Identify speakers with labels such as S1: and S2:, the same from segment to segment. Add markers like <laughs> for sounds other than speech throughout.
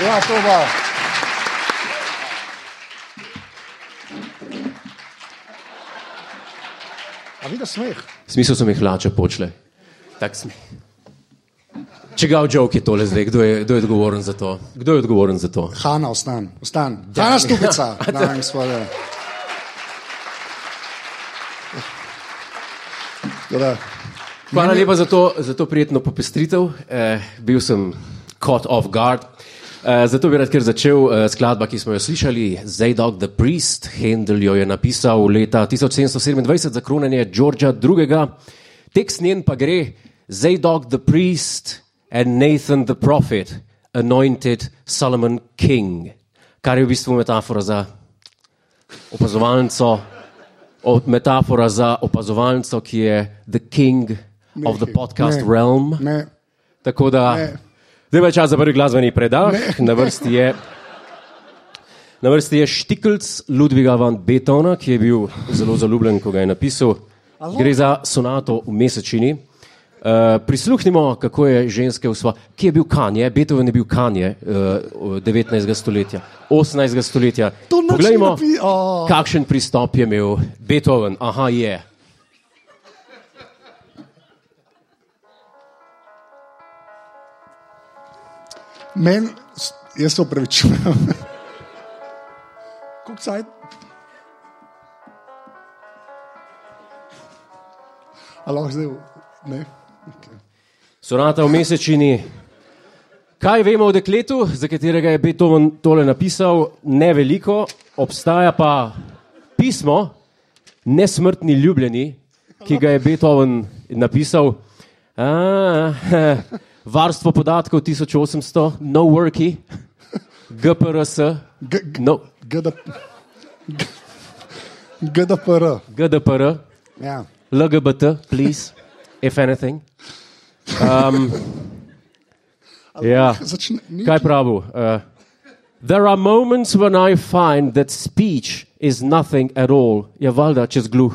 S1: Ja, super. A vidiš smeh?
S2: V smislu so mi hlače počle. Tak sm- Čigav joke je tole zdaj? Kdo je, kdo je odgovoren za to? Kdo je odgovoren za to?
S1: Hanna, ostan, ostan. Hanna <laughs> Stupica, danes svoje. Da.
S2: Hvala lepa za to, za to prijetno popestritev. Eh, bil sem caught off guard. Eh, zato bi rad kar začel eh, skladba, ki smo jo slišali, Zajdog the Priest. Hendel jo je napisal leta 1727 za kronanje Georgea II. Tekst njen pa gre: Zajdog the Priest and Nathan the Prophet, anointed Solomon King. Kar je v bistvu metafora za opazovalnico, o- metafora za opazovalnico, ki je the king of the podcast
S1: Ne.
S2: realm.
S1: Ne,
S2: Tako da,
S1: Ne.
S2: zdaj pa je čas za prvi glasbeni predah. Na vrsti je. Na vrsti je Štikljc Ludviga van Betona, ki je bil zelo zaljubljen, ko ga je napisal. Alo? Gre za sonato v mesečini. Uh, prisluhnimo, kako je ženske usvojil. Kje je bil Kanje? Beethoven je bil Kanje uh, 19. stoletja, 18. stoletja.
S1: To nič ni
S2: Poglejmo,
S1: napi- O.
S2: kakšen pristop je imel Beethoven. Aha, je.
S1: men, jaz se <laughs> upravičujem. Kuk cajt? A lahko zdaj? v- Ne. Okay.
S2: Sonata v mesečini. Kaj vemo o dekletu, za katerega je Beethoven tole napisal? Ne veliko, obstaja pa pismo, nesmrtni ljubljeni, ki ga je Beethoven napisal. A, <laughs> varstvo podatkov 1800, no worky, GPRS,
S1: G- g-
S2: no,
S1: GD... GDPR.
S2: GDPR,
S1: Ja.
S2: LGBT, please, if anything. Um, ja.
S1: Začne, ni,
S2: Kaj pravi? Uh, There are moments when I find that speech is nothing at all. Je valjda čez gluh.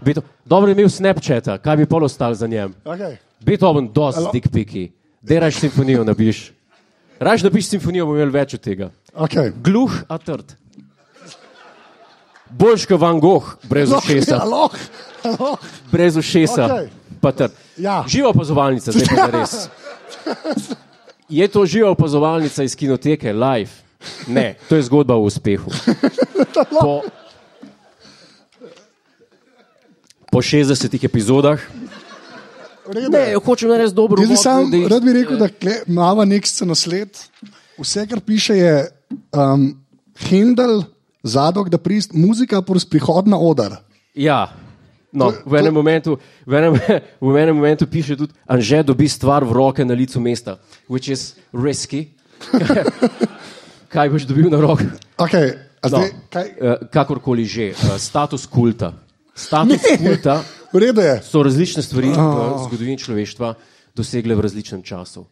S2: Beto- Dobro je imel Snapchata, kaj bi pol ostal za njem.
S1: okay.
S2: Beethoven, dosti
S1: Alo?
S2: dikpiki, da raš simfonijo napiš. Raš napiš simfonijo, bomo imeli več od tega.
S1: Okay.
S2: Gluh, a trd. Boljš kot Van Gogh,
S1: No,
S2: brez ušesa.
S1: Aloh, aloh.
S2: brez ušesa.
S1: Okej.
S2: Okay.
S1: Ja.
S2: Živa opazovalnica, zdaj pa
S1: <laughs>
S2: za res. Je to živa opazovalnica iz kinoteke, live? Ne, to je zgodba o
S1: <laughs>
S2: uspehu. Po, po 60 epizodah, ne, hočem narediti dobro
S1: Jaz bi
S2: uvod,
S1: sam
S2: da jih-
S1: rad bi rekel, da kle- imamo nek scenosled. Vse, kar piše, je um, Hendel, zadok, da prist, muzika, plus prihodna odar.
S2: Ja. No, v, enem momentu, v, enem, <laughs> v enem momentu piše tudi, da Anže dobi stvar v roke na licu mesta, which is risky. <laughs> Kaj boš dobil na roke?
S1: Okay,
S2: No,
S1: zdaj, kaj,
S2: eh, kakorkoli že, eh, status kulta. Status ne. kulta
S1: v redu je.
S2: so različne stvari oh. v zgodovini človeštva dosegle v različnem času.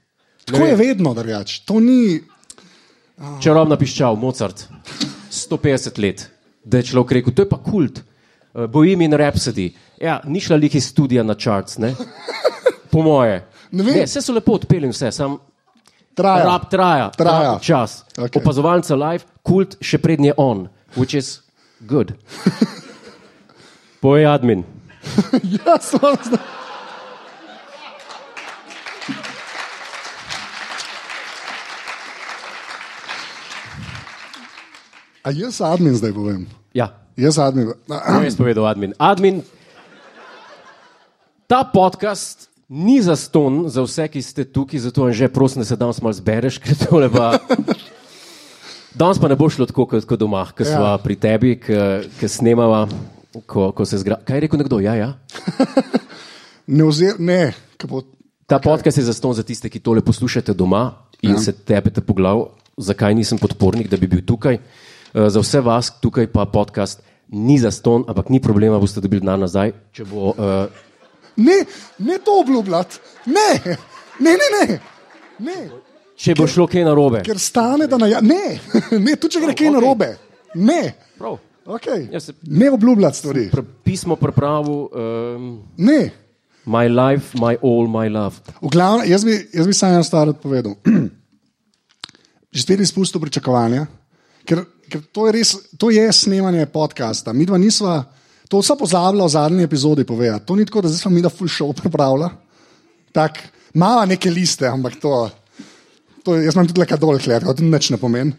S1: Tako je vedno, da rečeš. To ni.
S2: Čarobna piščal, Mozart, 150 let, da je človek rekel, to je pa kult, Eh, Bohemian Rhapsody. Ja, ni šla lih iz studija na charts, ne? po moje.
S1: Ne vem.
S2: ne, vse so lepo odpeljali, in vse, sam
S1: Traja.
S2: rab traja,
S1: Traja.
S2: rabi čas.
S1: Okej.
S2: Okay. Opazovalca live, kult še prednje on, which is good. Poje admin.
S1: ja, samo zdaj. A jaz admin zdaj povem.
S2: Ja,
S1: Jaz admin.
S2: to je povedal admin. Admin, ta podcast ni za ston, za vse, ki ste tukaj, zato je že prosim, da se danes malo zbereš, ker tole pa. Danes pa ne bo šlo tako kot, kot doma, ko
S1: Ja.
S2: smo ja. pri tebi, ko snemava, ko, ko se zgra. Kaj je rekel nekdo? Ja, ja.
S1: Ne, ozir, ne, ke bo,
S2: Ta okay. podcast je zaston za tiste, ki tole poslušate doma in ja. se tepete po glavu, zakaj nisem podpornik, da bi bil tukaj. Eh, Za vse vas tukaj pa podcast ni zaston, ampak ni problema, boste dobili denar nazaj, če bo. Uh,
S1: ne, ne to obljubljati, ne, ne, ne, ne. ne.
S2: Če bo šlo kaj narobe,
S1: Ker stane, da naj. Ne, <laughs> ne, tudi če gre kaj
S2: Okej.
S1: narobe. Ne,
S2: Prav.
S1: okay.
S2: Jaz se-
S1: ne obljubljati stvari.
S2: Pre- pismo pripravo, um,
S1: Ne.
S2: my life, my all, my love.
S1: V glavnem, jaz bi, jaz bi samo eno stvar rad povedal. že spet izpustil pričakovanja, ker, ker to, je res, to je snemanje podcasta. Mi dva nisva, to so pozabila v zadnji epizodi povedati. To ni tako, da zdaj smo mi da full show pripravila. Tak, mala neke liste, ampak to, to jaz imam tudi lekadol hleb, to nič ne pomeni.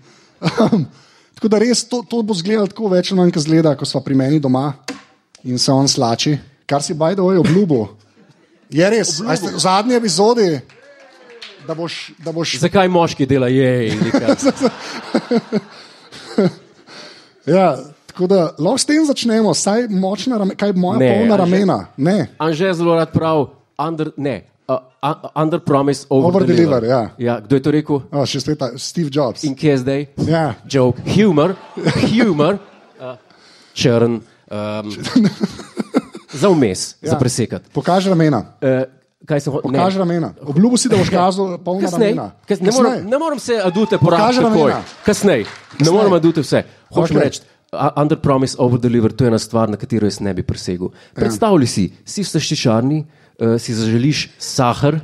S1: <laughs> tako da res to, to bo zgledalo tako več ali manj, kot zgleda, ko smo pri meni doma in se on slači, kar si Bajdo je obljubil. Je res, a ste v zadnji epizodi, da boš, da boš
S2: Zakaj moški dela je?
S1: <laughs> Ja, tako da lahko s tem začnemo, saj močna ramena, kaj moja ne,
S2: Ne,
S1: polna
S2: Anže.
S1: ramena, ne,
S2: Anže zelo rad pravi, under, ne, uh, uh, under promise, over,
S1: Over deliver, ja.
S2: ja. Kdo je to rekel?
S1: oh, še spet ta Steve Jobs.
S2: In kje je zdaj?
S1: Ja.
S2: Joke, humor, humor uh, črn, um, za vmes, ja. za presekati.
S1: Pokaži ramena,
S2: Uh, kaj sem hotel?
S1: pokaži ramena. Obljubil si, da boš kazal
S2: <laughs>
S1: polna
S2: Kasnej,
S1: ramena.
S2: kas, ne, moram,
S1: Kasneje.
S2: ne moram se adute porabiti
S1: Pokaži
S2: takoj.
S1: ramena.
S2: Kasnej, ne
S1: Kasneje.
S2: moram adute vse. Hočem
S1: Ok.
S2: okay. reči, a- under promise, over deliver, to je ena stvar, na katero jaz ne bi presegel.
S1: Ja.
S2: Predstavljaj si, si v slaščičarni, uh, si zaželiš sahar,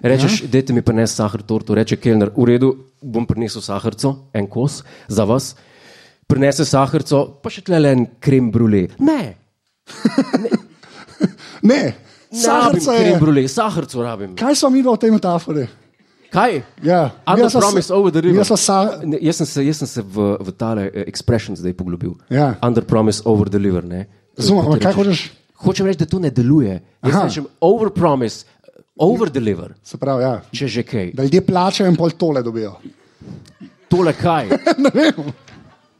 S2: rečeš, ja. dajte mi prinesti sahar torto, reče kelner, v redu, bom prinesel saharco, en kos za vas, prinese saharco, pa še tle le en krem brule. Ne,
S1: Ne,
S2: ne rabim
S1: sahrca je.
S2: krem brule, saharco rabim.
S1: Kaj smo mi v tej metafori?
S2: Kaj?
S1: Ja,
S2: Under
S1: jaz sva
S2: promise,
S1: se-
S2: over deliver.
S1: jaz sva sa-
S2: Ne, Jaz sem se, jaz sem se v, v tale eh, expression zdaj poglobil.
S1: Ja.
S2: Under promise, over deliver. ne.
S1: Razumem, ampak
S2: Ti
S1: kaj
S2: rečeš-
S1: hočeš?
S2: Hočem reči, da to ne deluje. Jaz
S1: Aha.
S2: rečem over promise, over deliver,
S1: Se pravi, ja.
S2: če že kaj.
S1: da ljudje plačajo in pol tole dobijo.
S2: Tole
S1: <laughs>
S2: kaj.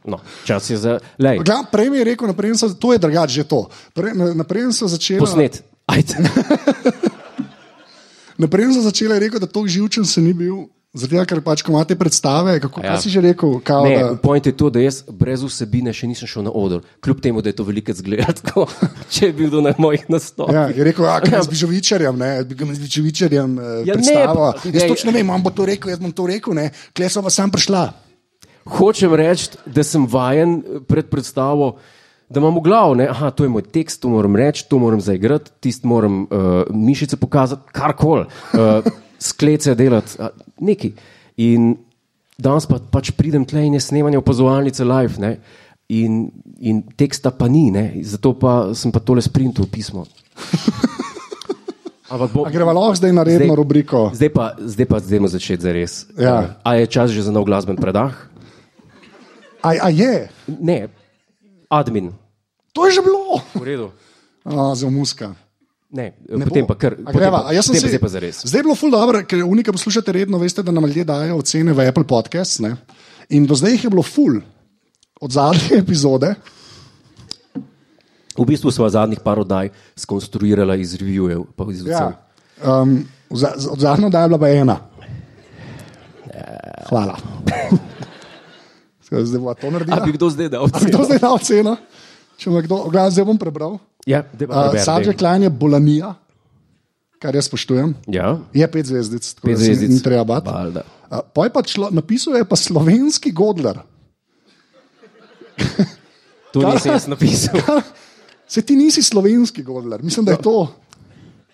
S2: No, čas je za. Lej,
S1: Glavno, prej mi je rekel, naprej so, to je drugače že to. Pre, na, naprej so začeli.
S2: posnet. Ajde.
S1: Naprej sem začela reči, da to živčen se ni bil, zato ker pač ko imate predstave, kako
S2: Ja.
S1: ja. si že rekel, kao,
S2: Ne,
S1: da,
S2: point je to, da jaz brez vsebine še nisem šel na oder, kljub temu, da je to veliko zgledati, <laughs> če je bil kdo na mojih nastopih.
S1: <laughs> ja, je rekel, a kaj z bižovičarjem, ne, bi ga z bižovičarjem eh,
S2: Ja, ne,
S1: predstavo.
S2: pa-
S1: Jaz
S2: ne,
S1: točno ne vem, on bo to rekel, jaz bom to rekel, ne, kle so pa sam prišla.
S2: Hočem reči, da sem vajen eh, pred predstavo, da imam v glavu, da to je moj tekst, to moram reči, to moram zaigrati, tisti moram uh, mišice pokazati, karkoli, uh, sklece delati, uh, neki. In danes pa, pač pridem tle in je snemanje opazovalnice live. Ne? In, in teksta pa ni, ne? zato pa sem pa tole sprintil
S1: <laughs>
S2: pismo. Ampak bo,
S1: A greva lahko zdaj na redno zdaj. rubriko.
S2: Zdaj pa, zdaj pa zdaj začeti za res.
S1: Ja.
S2: A je čas že za nov glasben predah?
S1: A, a je,
S2: Ne, admin.
S1: to je že bilo.
S2: V redu.
S1: A, za muska.
S2: Ne,
S1: Ne
S2: ne potem
S1: bo.
S2: pa kar.
S1: A greva, a
S2: potem pa-
S1: jaz sem
S2: potem pa
S1: si-
S2: Zdaj pa zares.
S1: Zdaj je bilo ful dobro, ker unika poslušate redno, veste, da nam ljudje dajo ocene v Apple podcast. Ne? In do zdaj jih je bilo ful, od zadnje <laughs> epizode.
S2: V bistvu smo zadnjih par oddaj skonstruirali iz revijev, pa iz vsega.
S1: Ja. Um, za, za- od zadnje oddaje je bila pa ena.
S2: Ja.
S1: Hvala. Zdaj bo to
S2: A bi
S1: naredil.
S2: kdo zdaj dal?
S1: ja. Kdo zdaj da oceno? Če me kdo, gledaj, zdaj bom prebral.
S2: Ja, daj pa
S1: Uh,
S2: preber,
S1: Sadžek
S2: daj.
S1: Lajn je bolanija, kar jaz spoštujem.
S2: Ja,
S1: Je pet zvezdic, tako
S2: pet
S1: da se ni-
S2: zvezdic.
S1: Ni treba bati.
S2: Valjda.
S1: Uh, poj pa člo, napisal je pa slovenski Godler.
S2: To nisem jaz
S1: <laughs>
S2: napisal.
S1: Se ti nisi slovenski Godler, mislim, da
S2: Ja.
S1: je to.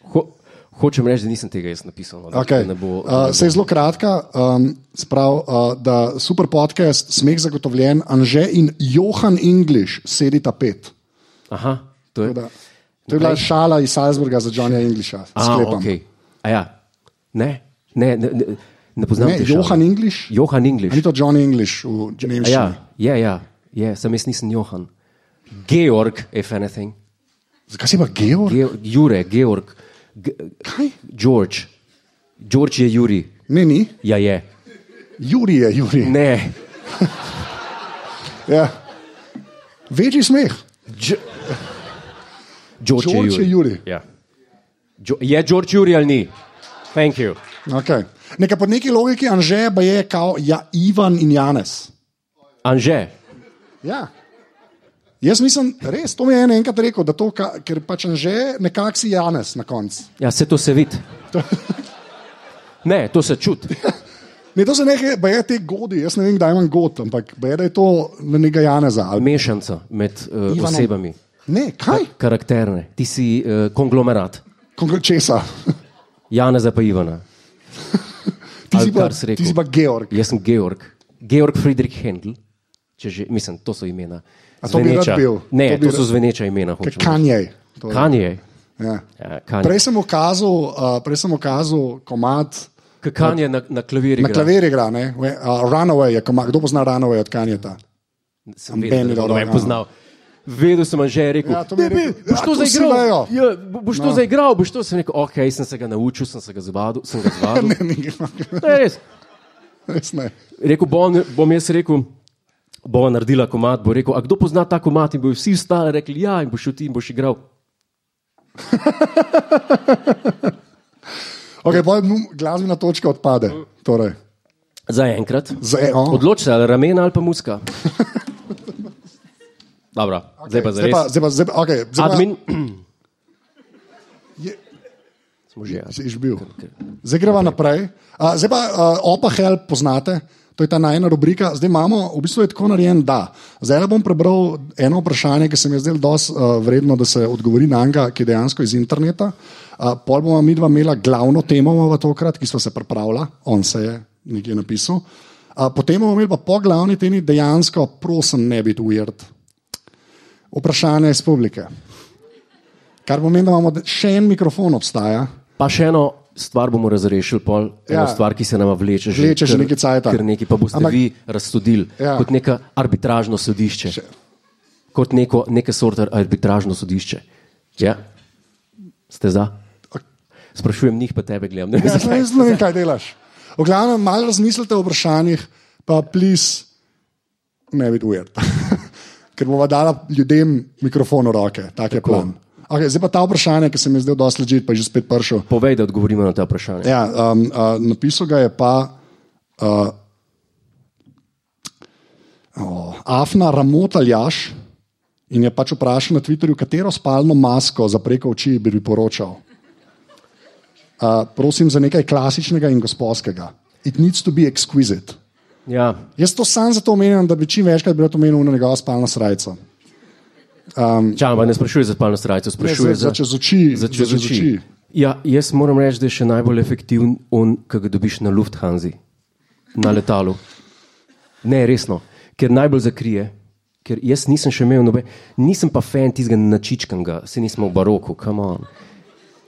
S2: Ho, hočem reči, da nisem tega jaz napisal. No, da-
S1: Okay.
S2: da ne bo, da ne
S1: Uh,
S2: bo.
S1: se je zelo kratka, um, sprav, uh, da super podcast, smeh zagotovljen, Anže in Johan English sedita pet.
S2: Aha, to je.
S1: Tako Da, to je bila šala iz Salzburga za Johnnyja Englisha.
S2: A,
S1: sklepam.
S2: ok. A ja, ne, ne, ne, ne, ne poznam
S1: Ne,
S2: te šale.
S1: Johan English?
S2: Johan English.
S1: A Ni to Johnny English v Nemčiji.
S2: Ja, ja, ja, ja, sem jaz nisem Johan. Georg, if anything.
S1: Zakaj si pa Georg?
S2: Ge Jure, Georg. G
S1: Kaj?
S2: George. George je Juri.
S1: Ne, ni.
S2: Ja, je.
S1: Juri je, Juri.
S2: Ne.
S1: Ja. Večji smeh.
S2: Dž George,
S1: George je Juri.
S2: Ja. Jo je George Juri ali ni? Thank you.
S1: Okay. Nekaj po neki logiki Anže pa je kao ja, Ivan in Janes.
S2: Anže.
S1: Ja. Jaz mislim, res, to mi je en enkrat rekel, da to, ka, ker pač Anže nekako si Janes na koncu.
S2: Ja, se to se
S1: <laughs>
S2: vidi. Ne, to se čuti.
S1: Ne, to se nekaj, baje te godi, jaz ne vem, kdaj imam god, ampak baje da je to na nekaj Janeza. Ali...
S2: Mešanca med uh,
S1: Ivanom.
S2: osebami.
S1: Ne, kaj?
S2: Karakterne. Ti si uh, konglomerat.
S1: Konkret česa.
S2: Janeza pa Ivana.
S1: <laughs> Ti
S2: ali
S1: si pa,
S2: kar si rekel. Ja,
S1: ti si pa Georg.
S2: Jaz sem Georg, Georg Friedrich Händel, če že, mislim, to so imena.
S1: A to bi rad
S2: Zveneča-
S1: bil?
S2: Ne,
S1: To
S2: to,
S1: bi
S2: to so
S1: rad-
S2: zveneča imena.
S1: K-
S2: hočem reči.
S1: Kanye. To je.
S2: Kanje.
S1: Ja.
S2: Ja, Kanje.
S1: Prej sem ukazal, uh, prej sem ukazal komat.
S2: K- Kanje na, na klavirju.
S1: Na
S2: igra.
S1: klavirju igra, ne? We- a, Runaway je komad. Kdo pozna Runaway od <laughs> Kanjeta?
S2: Sem
S1: Benny
S2: vedel, da
S1: dobro,
S2: ga
S1: ja.
S2: bom poznal. Vedel sem že, je rekel,
S1: Ja, to mi je
S2: "Ne, ne,
S1: rekel.
S2: boš
S1: Ja,
S2: to
S1: to vsi
S2: zaigral.
S1: vejo."
S2: Ja, bo- boš
S1: No.
S2: to zaigral, boš to. Sem rekel, ok, sem se ga naučil, sem se ga zvadil. Sem ga
S1: <laughs>
S2: zvadil.
S1: Ne, ne, ne,
S2: Ne, res.
S1: res ne.
S2: Rekel bom, bom jaz rekel, bova naredila komat, bo rekel, a kdo pozna ta komat in bo vsi vstali rekli, ja, in boš šel ti in boš igral.
S1: Okay, pol num- Glasbena točka odpade. Torej.
S2: Za enkrat.
S1: Zdaj, o.
S2: Odloči se, Oh. ali ramena ali pa muska. <laughs> Dobro, okay, zdaj pa za
S1: Zdaj pa,
S2: res.
S1: zdaj pa, zdaj pa, okay, zdaj pa,
S2: Admin.
S1: Je-
S2: Smo že. ja.
S1: Si že bil. Zdaj greva naprej. A, zdaj pa uh, opa help poznate. To je ta najna rubrika. Zdaj imamo, v bistvu je tako narejen, da. Zdaj le bom prebral eno vprašanje, ki se mi je zdelo dosti uh, vredno, da se odgovori na njega, ki je dejansko iz interneta. Uh, pol bomo mi dva imela glavno temo v tokrat, ki smo se pripravila, on se je nekje napisal. Uh, potem bomo imeli pa po glavni temi dejansko, prosim, ne biti ujerd. Vprašanje iz publike. Kar pomeni, da imamo de- še en mikrofon obstaja.
S2: Pa še eno stvar bomo razrešili, pol, eno
S1: Ja.
S2: stvar, ki se nam vleče že,
S1: Vleče že
S2: kar-
S1: nekaj cajta.
S2: Kar nekaj pa boste Ampak,
S1: Ampak-
S2: vi razsodili ja.
S1: Ja.
S2: kot neko arbitražno sodišče. Še. Kot neko, neke sorte arbitražno sodišče. Ja? Ste za? Sprašujem njih, pa tebe gledam. Ne,
S1: Ja,
S2: ja,
S1: jaz ne vem, kaj delaš. V glavnem, malo razmislite o vprašanjih, pa plis, ne biti ujed. <laughs> Ker bomo dala ljudem mikrofon v roke, tak je plan. Okay, zdaj pa ta vprašanje, ki se mi je zdelo dosti ležit, pa je že spet pršel.
S2: <laughs> Povej, da odgovorimo na ta vprašanja.
S1: Ja, um, uh, napisal ga je pa uh, oh, Afna Ramotaljaš in je pač vprašal na Twitterju, katero spalno masko za preko oči bi priporočal. Uh, prosim za nekaj klasičnega in gospodskega. It needs to be exquisite.
S2: Ja.
S1: Jaz to sam zato omenjam, da bi čim večkrat bilo to omenjeno na njegovo spalno srajco.
S2: Čakaj, ampak ne sprašuj za spalno
S1: Ne,
S2: srajco, sprašuj
S1: Ja, za,
S2: za,
S1: za čez oči.
S2: za čez oči. Ja, jaz moram reči, da je še najbolj efektiven on, ki ga dobiš na Lufthansi, na letalu. Ne, resno, ker najbolj zakrije. Ker jaz nisem še imel nobe, nisem pa fan tistega načičkanga, se nismo v baroku, come on,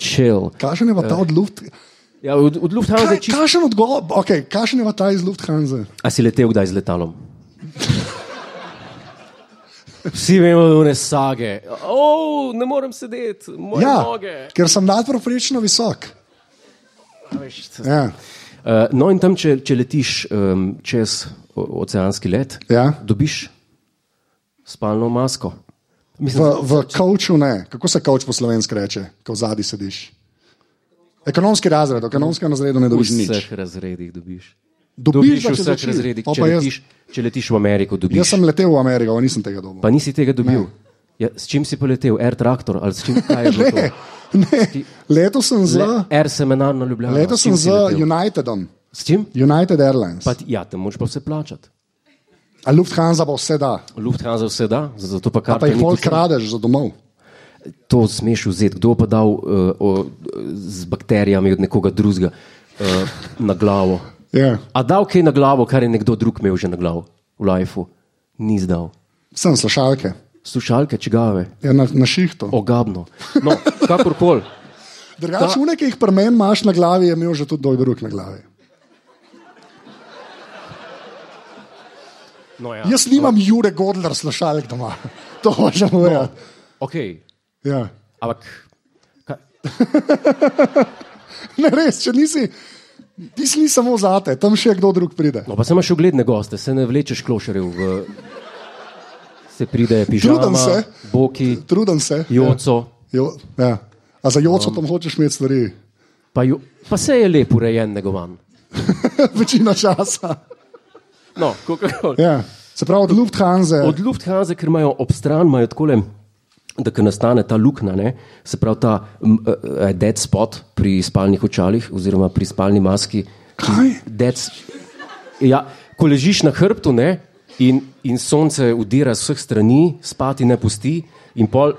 S2: chill.
S1: Kakšen je pa ta od Luft?
S2: Ja, od, od Lufthansa
S1: Kaj,
S2: Eh. je čisto.
S1: kakšen odgovor? Okay, kakšen je pa ta iz Lufthansa?
S2: A si letel kdaj z letalom? Vsi vemo, da ne sage. Oh, ne morem sedeti, moje ja.
S1: Ja,
S2: noge.
S1: ker sem nadproprečno visok.
S2: A veš, to-
S1: Ja.
S2: Uh, no, in tam, če, če letiš um, čez o- oceanski let,
S1: Ja.
S2: dobiš spalno masko.
S1: V,
S2: Mislim,
S1: v kavču ne. Kako se kavč po slovenski reče, ko zadnji sediš? Ekonomski razred, v ekonomskem razredu ne
S2: da v
S1: dobiš nič.
S2: vseh razredih dobiš.
S1: Dobiš
S2: Dobiš
S1: ga
S2: v
S1: čez
S2: vseh
S1: oči.
S2: razredih.
S1: Pa
S2: Če
S1: pa jaz-
S2: letiš, če letiš v Ameriko,
S1: Jaz
S2: dobiš.
S1: sem letel v Ameriko, pa nisem tega dobil.
S2: Pa nisi tega dobil. Ja, s čim si poletel? Air traktor ali s čim kaj je bilo to?
S1: <laughs> Ne, ne. Letel sem z,
S2: Le- Air seminar na Ljubljano.
S1: letel
S2: s
S1: sem
S2: čim
S1: z
S2: si letel?
S1: Unitedom,
S2: S čim?
S1: United Airlines.
S2: Pa, ti- ja, te moraš pa vse plačati.
S1: A Lufthansa pa vse da,
S2: Lufthansa vse da, zato pa kar
S1: pa jih bolj kradeš za domov.
S2: to smeš vzeti, kdo pa dal uh, o, z bakterijami od nekoga drugega uh, na glavo.
S1: Ja,
S2: A dal kaj na glavo, kar je nekdo drug imel že na glavo v lifeu, ni zdal.
S1: sem slušalke,
S2: Slušalke, čigave,
S1: ja, na, na šihtu.
S2: ogabno. No, kakorkoli.
S1: Drugač, une, ki jih pri meni imaš na glavi, je imel že tudi dol drug na glavi.
S2: No, ja.
S1: Jaz nimam Jure Godler slušalk doma, <laughs> to hočem povedati.
S2: Ok,
S1: Ja. <laughs>
S2: ampak kaj,
S1: Ne, res, če nisi, ti si samo zate, tam še kdo drug pride.
S2: no, pa se imaš ugledne goste, se ne vlečeš klošarjev. V, se pride pižama,
S1: Trudim se.
S2: boki,
S1: Truden se.
S2: joco.
S1: Jo, ja. A za joco tam hočeš imeti stvari, <laughs>
S2: Pa, jo, pa se je lepo urejen, negovan.
S1: večino časa.
S2: No, kakorkoli.
S1: Ja. Se pravi, od Lufthansa.
S2: Od Lufthansa, ker imajo ob stran, imajo tako, da ko nastane ta luknja, ne, se pravi ta m, eh, eh, dead spot pri spalnih očalih, oziroma pri spalni maski.
S1: Kaj?
S2: Dead, s- ja, ko ležiš na hrbtu ne, in, in sonce udira z vseh strani, spati ne pusti, in pol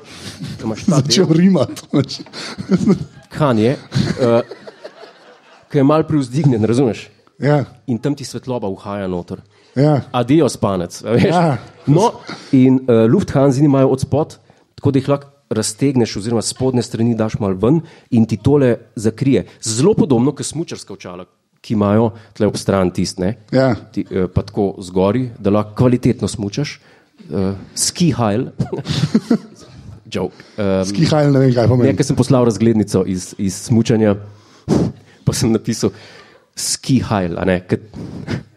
S2: imaš ta del,
S1: Začel rimati. <laughs>
S2: eh, kan je, uh, ki je mal privzdignjen, razumeš?
S1: Ja,
S2: in tam ti svetloba uhaja noter.
S1: ja.
S2: Adijo spanec. a veš.
S1: Ja.
S2: No, in uh, Lufthansa imajo odspod, tako da jih lahko raztegneš, oziroma s spodnje strani daš malo ven in ti tole zakrije. Zelo podobno kot smučarska očala, ki imajo tle ob stran tistne,
S1: Ja.
S2: ti, uh, pa tako zgori, da lahko kvalitetno smučaš. Uh, ski hajl. <laughs> Joke. Um,
S1: Skihaj, ne vem, kaj pomeni.
S2: Nekaj sem poslal razglednico iz, iz smutanja, pa sem napisal ski hajl, a ne, kat,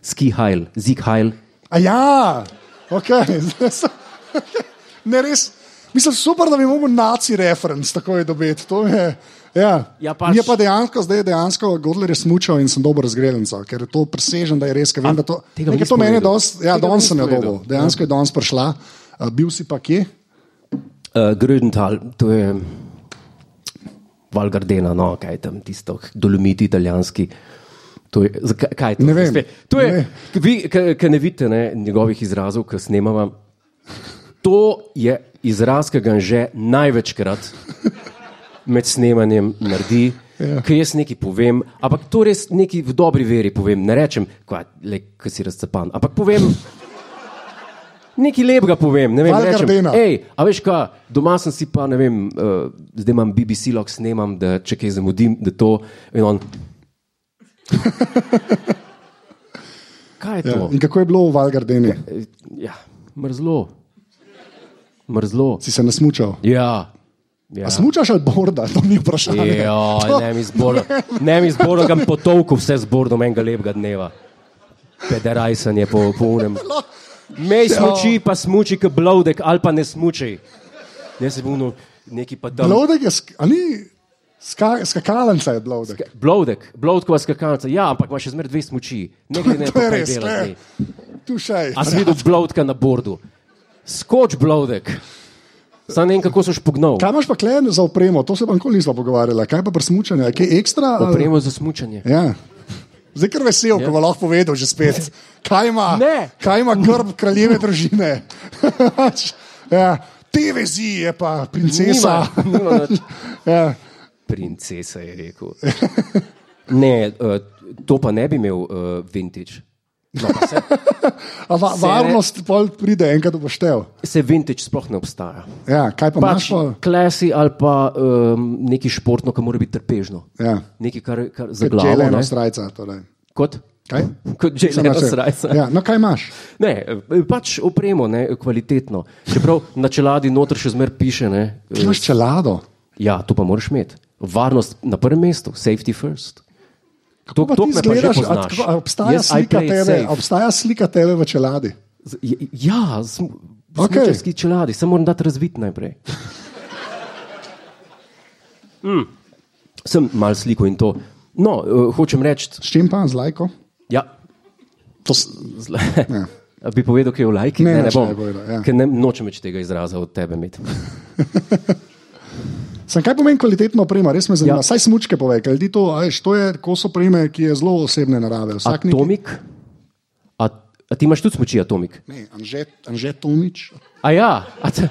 S2: ski hajl, zik hajl.
S1: A ja, ok. <laughs> ne res. Mislim, super, da bi mogel naci referenc takoj dobiti. To Je, ja.
S2: Ja, pač.
S1: Mi Je pa dejansko, zdaj je dejansko Godler je smučal in sem dober razgredenca, ker je to presežen, da je res, ker vem, da to,
S2: tega
S1: nekaj to
S2: nisem
S1: meni je
S2: vedel.
S1: dosti, ja,
S2: Tega
S1: danes sem jo
S2: nisem vedel.
S1: dobil, dejansko je danes prišla, A, bil si pa kje?
S2: Uh, Grödental, to je Valgardena, no, kaj je tam tisto, dolomiti italijanski. To je, zakaj, kaj je to?
S1: Ne vem,
S2: Spet- To je,
S1: ne.
S2: k- vi, ki ne vidite ne, njegovih izrazov, ki snemava. To je izraz, ki ga že največkrat med snemanjem naredi. Ja. Ker jaz nekaj povem, ampak to res nekaj v dobri veri povem. Ne rečem, kaj si razcapan, ampak povem. Nekaj lepega povem, ne vem,
S1: Val
S2: rečem,
S1: Gardena.
S2: Ej, a veš kaj, doma sem si pa, ne vem, uh, zdaj imam BBC log, snemam, da če kaj zamudim, da to. in
S1: <laughs>
S2: On... Kaj je to?
S1: In kako je bilo v Valgardeni?
S2: Ja, mrzlo. Mrzlo.
S1: Si se nasmučal?
S2: Ja. ja.
S1: A smučaš ali borda? To ni
S2: <laughs>
S1: vprašanje.
S2: Jo,
S1: To-
S2: E, ne mi zboro, ne mi zboro, kam potovku vse zbordom enega lepega dneva. Pederajsanje po
S1: <laughs>
S2: polnem. Mej smuči, pa smuči kot blodek, ali pa ne smuči. Jaz sem bil no, neki pa tam.
S1: Blodek je, sk- a ni, ska, skakalenca je blodek.
S2: Blodek, blodkova skakalnica. Ja, ampak imaš še zmeraj dve smuči. Ne glede
S1: <laughs> To
S2: na to,
S1: je
S2: kaj
S1: res,
S2: delaš.
S1: ne. Tu še je.
S2: A si videl blodka na bordu? Skoč blodek. Sam ne vem, kako so špugnov.
S1: Kaj imaš pa klen za opremo? To se pa nikoli nismo pogovarjali. Kaj pa prsmučanje? Je kaj ekstra? ali-
S2: Opremo za smučanje.
S1: Ja. Zdaj, ker vesel, ko bo lahko povedal že spet, kaj ima,
S2: Ne.
S1: kaj ima grb kraljeve družine. <laughs> ja. Te vezi je pa princesa.
S2: Nima, nima nič.
S1: <laughs> ja.
S2: Princesa je rekel. Ne, eh, to pa ne bi imel uh, vintage. No, pa se,
S1: A va,
S2: ne-
S1: varnost pol pride, enkrat bo štev.
S2: se vintage sploh ne obstaja.
S1: Ja, kaj pa
S2: Pač
S1: imaš? Pa?
S2: klasi ali pa um, nekaj športno, kar mora biti trpežno.
S1: Ja.
S2: Nekaj, kar, kar
S1: Če
S2: za
S1: le
S2: glavo.
S1: eno
S2: ne.
S1: strajca. Torej.
S2: Kot,
S1: Kaj?
S2: kot že
S1: Samo
S2: le
S1: se-
S2: srajca.
S1: Ja, no, kaj imaš?
S2: Ne, eh, pač opremo, ne, kvalitetno. Čeprav na čeladi noter še zmer piše, ne, eh,
S1: Ti imaš čelado.
S2: ja, to pa moraš imeti. Varnost na prvem mestu, safety first.
S1: Kako pa
S2: to
S1: ti
S2: me pa že
S1: izgledaš, a
S2: poznaš.
S1: tako- a obstaja,
S2: Yes, I
S1: slika
S2: play it
S1: tebe,
S2: safe.
S1: obstaja slika tebe v čeladi.
S2: Z- j- Ja, smo
S1: Okej.
S2: okay. čeladi, samo moram dati razvit najprej. Mm. Sem mal sliko in to. No, uh, hočem reči,
S1: S čim pa, z lajko?
S2: ja,
S1: To s-
S2: zle. <laughs> Ja. Bi povedal, kaj je v lajki?
S1: Ne,
S2: Ne,
S1: nič
S2: ne, ne
S1: ne
S2: bom.
S1: bi povedal, ja.
S2: Ker ne, nočem več tega izraza od tebe imeti.
S1: Sem kaj pomeni kvalitetna oprema, res me zanima.
S2: Ja.
S1: Ja. Saj smučke pove, ker ljudi to, a veš, to je kos opreme, ki je zelo osebne narave. Vsak nekaj-
S2: Atomik? A, a ti imaš tudi smoči atomik?
S1: Ne, Anže, Anže Tomič.
S2: A ja, a te...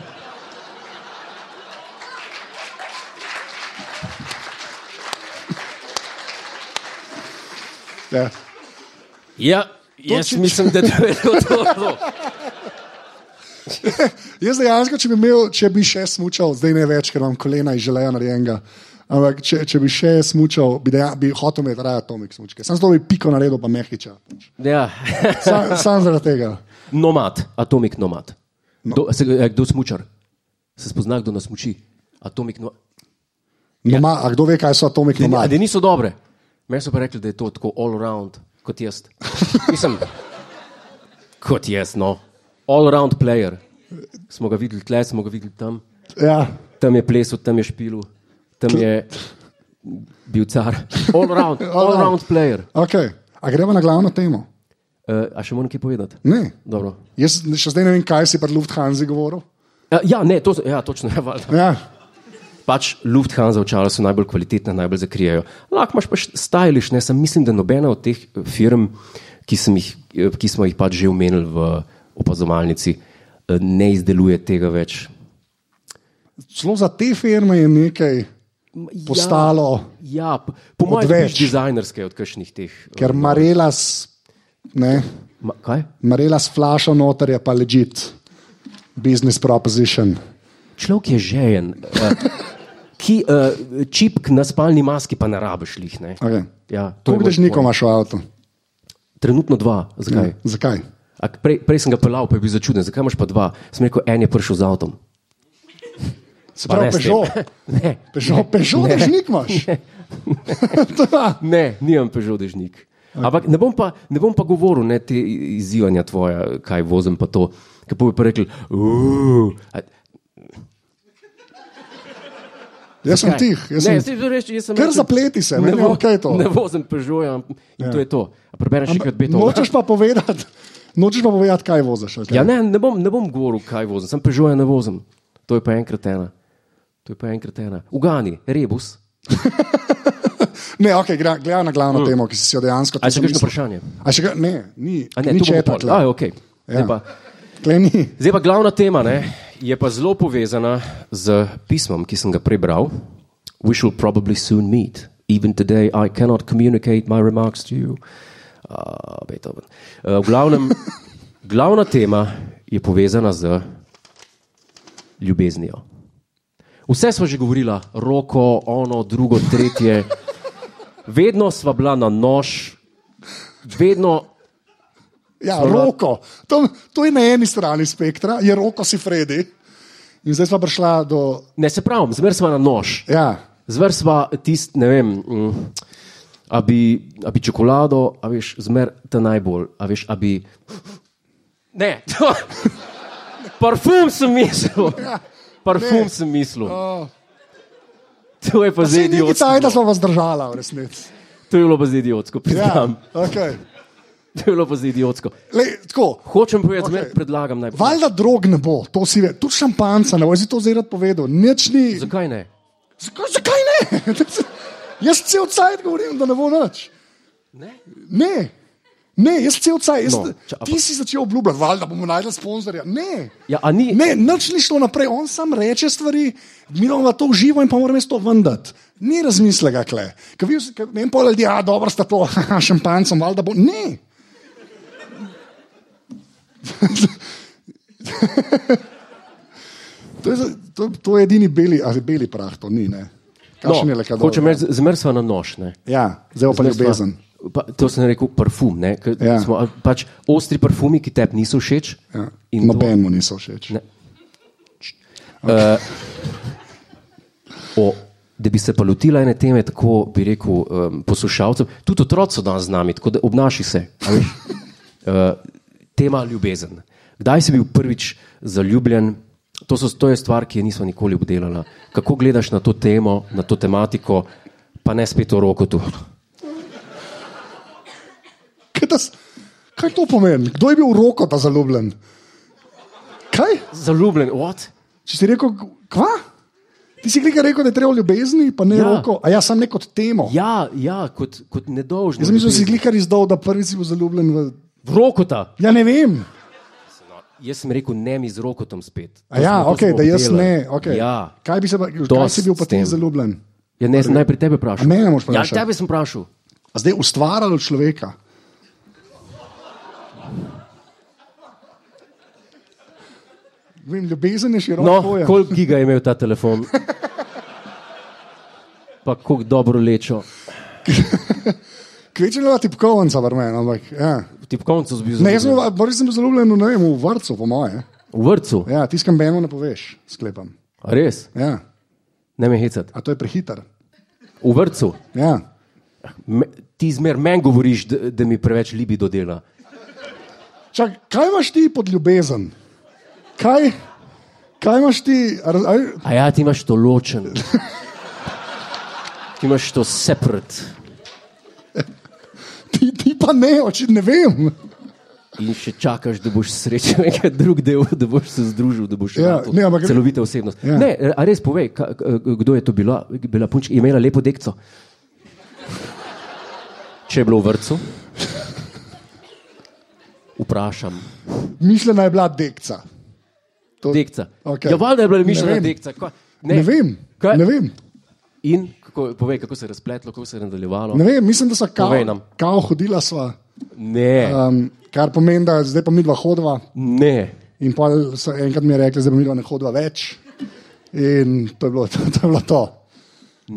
S1: Ja.
S2: ja jaz
S1: Točič.
S2: mislim, da to je bilo to. <laughs> to.
S1: Jaz dejansko, če bi, imel, če bi še smučal, zdaj ne več, ker imam kolena in želejo narejenega. Ampak če, če bi še smučal, bi, deja, bi hotel imeti raje atomik smučke. Sam zelo bi piko naredil, pa mehiča.
S2: Ja.
S1: Sam, sam zaradi tega.
S2: Nomad, atomik nomad. Kdo, se, eh, kdo smučar? Se spozna, kdo nas muči. Atomik nomad. Ja.
S1: Noma, a kdo ve, kaj so atomik
S2: A
S1: nomadi?
S2: da niso dobre. Meni so pa rekli, da je to tako all around, kot jaz. Mislim, kot jaz, no. All around player. Smo ga videli tle, smo ga videli tam.
S1: Ja.
S2: Tam je plesal, tam je špil, tam je bil car. All around, all around player.
S1: Okay. A gremo na glavno temo?
S2: Uh, a še moram kaj povedati?
S1: Ne.
S2: Dobro.
S1: Jaz še zdaj ne vem, kaj si pred Lufthansa govoril.
S2: Eh, Ja, ne, to, so- ja, točno je. valjda.
S1: Ja.
S2: pač Lufthansa očala so najbolj kvalitetna, najbolj zakrijejo. Lahko imaš pač stajliš, ne, sem mislim, da nobena od teh eh, firm, ki, sem jih, eh, ki smo jih pač že omenili v opazovalnici, eh, ne izdeluje tega več.
S1: Celo za te firme je nekaj, postalo,
S2: Ja, p- po mojem,
S1: Odveč.
S2: več dizajnerske od kakšnih teh. eh,
S1: ker Marelas, ne,
S2: Ma, kaj?
S1: Marelas flaša noter je pa legit, business proposition.
S2: Človek je žejen. Uh, ki, uh, čipk na spalni maski pa ne rabiš lih. Ne?
S1: Okay.
S2: Ja, to je
S1: Koliko
S2: moj
S1: dežnikov
S2: point.
S1: imaš v avtu?
S2: Trenutno dva. Zakaj?
S1: Ja, Zakaj?
S2: A Prej, prej sem ga pelal, pa je bil začuden. Zakaj imaš pa dva? Sem rekel, en je prišel z avtom.
S1: Se pravi,
S2: ne s tem.
S1: Peugeot.
S2: <laughs> Ne.
S1: Peugeot, Peugeot dežnik
S2: <laughs>
S1: imaš. Ja. To ja.
S2: Ne, nimam Peugeot dežnik. Okay. Ampak ne bom pa, ne bom pa govoril ne, te izzivanja tvoja, kaj vozim pa to. Kaj bo pa rekel,
S1: Jaz sem tih, jaz sem Kar zapleti se, ne vem, kaj je to.
S2: Ne vozim Peugeot in ja. to je to. A Prebereš še kaj beto.
S1: Nočeš pa povedati, nočeš pa povedati kaj voziš. ali kaj?
S2: Ja, ne, ne, bom, ne bom govoril, kaj vozim, sem Peugeot ja ne vozim. To je pa enkrat ena. To je pa enkrat ena. Ugani, rebus.
S1: Ne, okay, gra- gledaj na glavno mm. temo, ki si si jo dejansko
S2: A je še
S1: tudi
S2: kakšno
S1: mislil.
S2: vprašanje?
S1: A še kaj? Ne, ni,
S2: A ne,
S1: ni
S2: to bomo
S1: četa.
S2: pol.
S1: tle.
S2: A, okej. Zdaj
S1: Ja.
S2: pa-
S1: Tle ni.
S2: Zdaj pa glavna tema ne, je pa zelo povezana z pismom, ki sem ga prebral. We shall probably soon meet. Even today I cannot communicate my remarks to you. Uh, Beethoven. Uh, v
S1: <laughs>
S2: glavnem, glavna tema je povezana z ljubeznijo. Vse smo že govorili, roko, ono, drugo, tretje.
S1: <laughs>
S2: Vedno sva bila na nož, vedno
S1: Ja, roko. To, to je na eni strani spektra, je roko si Fredi. In zdaj smo prišla do.
S2: Ne, se pravi, zmer smo na nož.
S1: Ja,
S2: Zmer smo tisti, ne vem, mm, a bi, a bi čokolado, a veš, zmer ta najbolj, a veš, a bi. Ne, <laughs> to. Parfum sem mislil. Parfum
S1: ne.
S2: sem mislil.
S1: O.
S2: To je pa zdaj
S1: ni bilo
S2: idiotsko.
S1: tako, da smo vas držala, v resnici.
S2: To je bilo pa zdaj idiotsko,
S1: Ja,
S2: priznam.
S1: okay.
S2: To je bilo pa zdaj idiotsko.
S1: Lej, tako.
S2: Hočem povedati, zmer
S1: Okej.
S2: predlagam najbolj.
S1: Valjda drog ne bo, to si ve, tudi šampanca, ne bo si to zdaj rad povedal. Nič ni.
S2: Zakaj ne?
S1: Zakaj, zakaj ne? <laughs> jaz cel cajt govorim, da ne bo nič.
S2: Ne?
S1: Ne, ne jaz cel cajt.
S2: No,
S1: No,
S2: ča-
S1: ti si začel obljubljati, valjda bomo našli sponzorja. Ne.
S2: Ja, a ni.
S1: Ne, nič ni šlo naprej, on sam reče stvari, mi bomo to uživo in pa moramo jaz to vendati. Ni razmislega, kle. Kaj vi, kaj, ne vem, pol ljudi, a dobro sta to, <laughs> haha, šampancem, valjda bo. Ne. <laughs> to, je, za- to, to je edini beli, ali beli prah, to ni, ne. Kakšen je le kaj
S2: No, hočem reči, zmer smo na nož. Ne?
S1: Ja, zdaj bo pa
S2: Zdaj sva-
S1: ljubezen.
S2: Pa, to sem rekel, parfum. Ne, ker
S1: Ja.
S2: smo, a, pač, ostri parfumi, ki tebi niso všeč.
S1: Ja.
S2: in to-
S1: Nobenemu niso všeč.
S2: Ne. O, da bi se pa lotila ene teme, tako bi rekel um, poslušalcem, tudi otroci so danes z nami, tako da obnaši se. a
S1: <laughs>
S2: veš. Uh, tema ljubezen. Kdaj si bil prvič zaljubljen? To, so, to je stvar, ki je nismo nikoli obdelali. Kako gledaš na to temo, na to tematiko, pa ne spet o roku tu?
S1: Kaj, tas, kaj to pomeni? Kdo je bil v roko ta zaljubljen? Kaj?
S2: Zaljubljen, what?
S1: Če si rekel, kva? Ti si klikaj rekel, da je treba o ljubezni, pa ne
S2: Ja.
S1: ja. roko, a jaz sem neko temo. Ja.
S2: Ja, ja kot, kot nedolžen.
S1: Jaz mislim, da si klikaj izdal, da prvi si bil zaljubljen v.
S2: Rokota.
S1: Ja, ne vem.
S2: Jaz sem rekel, ne mi z rokotom spet.
S1: A ja,
S2: To smo- to
S1: okay,
S2: smo
S1: da jaz
S2: obdelali.
S1: ne. Okay.
S2: Ja.
S1: Kaj bi se pa,
S2: To
S1: kaj si bil pa
S2: s
S1: ti
S2: tem.
S1: zaljubljen?
S2: Ja, ne, sem najprej tebe vprašal.
S1: A mene boš
S2: Ja,
S1: vprašal?
S2: tebe sem vprašal.
S1: A zdaj ustvarjalo človeka. Vem, ljubezen je široko. ja.
S2: No,
S1: pojem.
S2: koliko giga je imel ta
S1: <laughs>
S2: telefon? Pa kako dobro lečo.
S1: Kvečila tipkovnica, vrmen, ampak. Ja.
S2: Ti v koncu zbil
S1: Ne, jaz sem, bil- prvi sem bil zaljubljen v, ne vem, v vrtu, po moje.
S2: V vrtu.
S1: Ja, tiskam beno ne poveš, sklepam.
S2: A Res,
S1: Ja,
S2: ne me hecati.
S1: a to je prehiter.
S2: V vrtu.
S1: Ja.
S2: Me, ti zmer meni govoriš, da, da mi preveč libi do dela.
S1: Čak, kaj imaš ti pod ljubezen? Kaj, kaj imaš ti? a raz- a-
S2: A ja, ti imaš to ločen.
S1: <laughs>
S2: Ti imaš to separate.
S1: Ti, ti pa ne, očitno ne vem.
S2: In še čakaš, da boš srečen nekaj drug del, da boš se združil, da boš
S1: Ja,
S2: našel
S1: ne, ampak-
S2: celovita osebnost.
S1: Ja.
S2: Ne, a res povej, ka, k- kdo je to bila, bila punčka, je imela lepo dekco. Če je bilo v vrtu, vprašam.
S1: Mišljena je bila dekca.
S2: Dekca.
S1: Okej.
S2: Ja, valjda je bila
S1: Ne
S2: mišljena
S1: vem.
S2: dekca. Kva-
S1: Ne, ne vem.
S2: Kaj?
S1: Ne vem.
S2: In kako, povej, kako se je razpletlo, kako se je nadaljevalo.
S1: Ne vem, mislim, da so kao,
S2: Povej nam.
S1: kao hodila sva,
S2: Ne,
S1: um, kar pomeni, da zdaj pa mi dva hodva.
S2: ne.
S1: In pol so enkrat mi rekli, da mi dva ne hodiva več. In to je bilo to. to, je bilo to.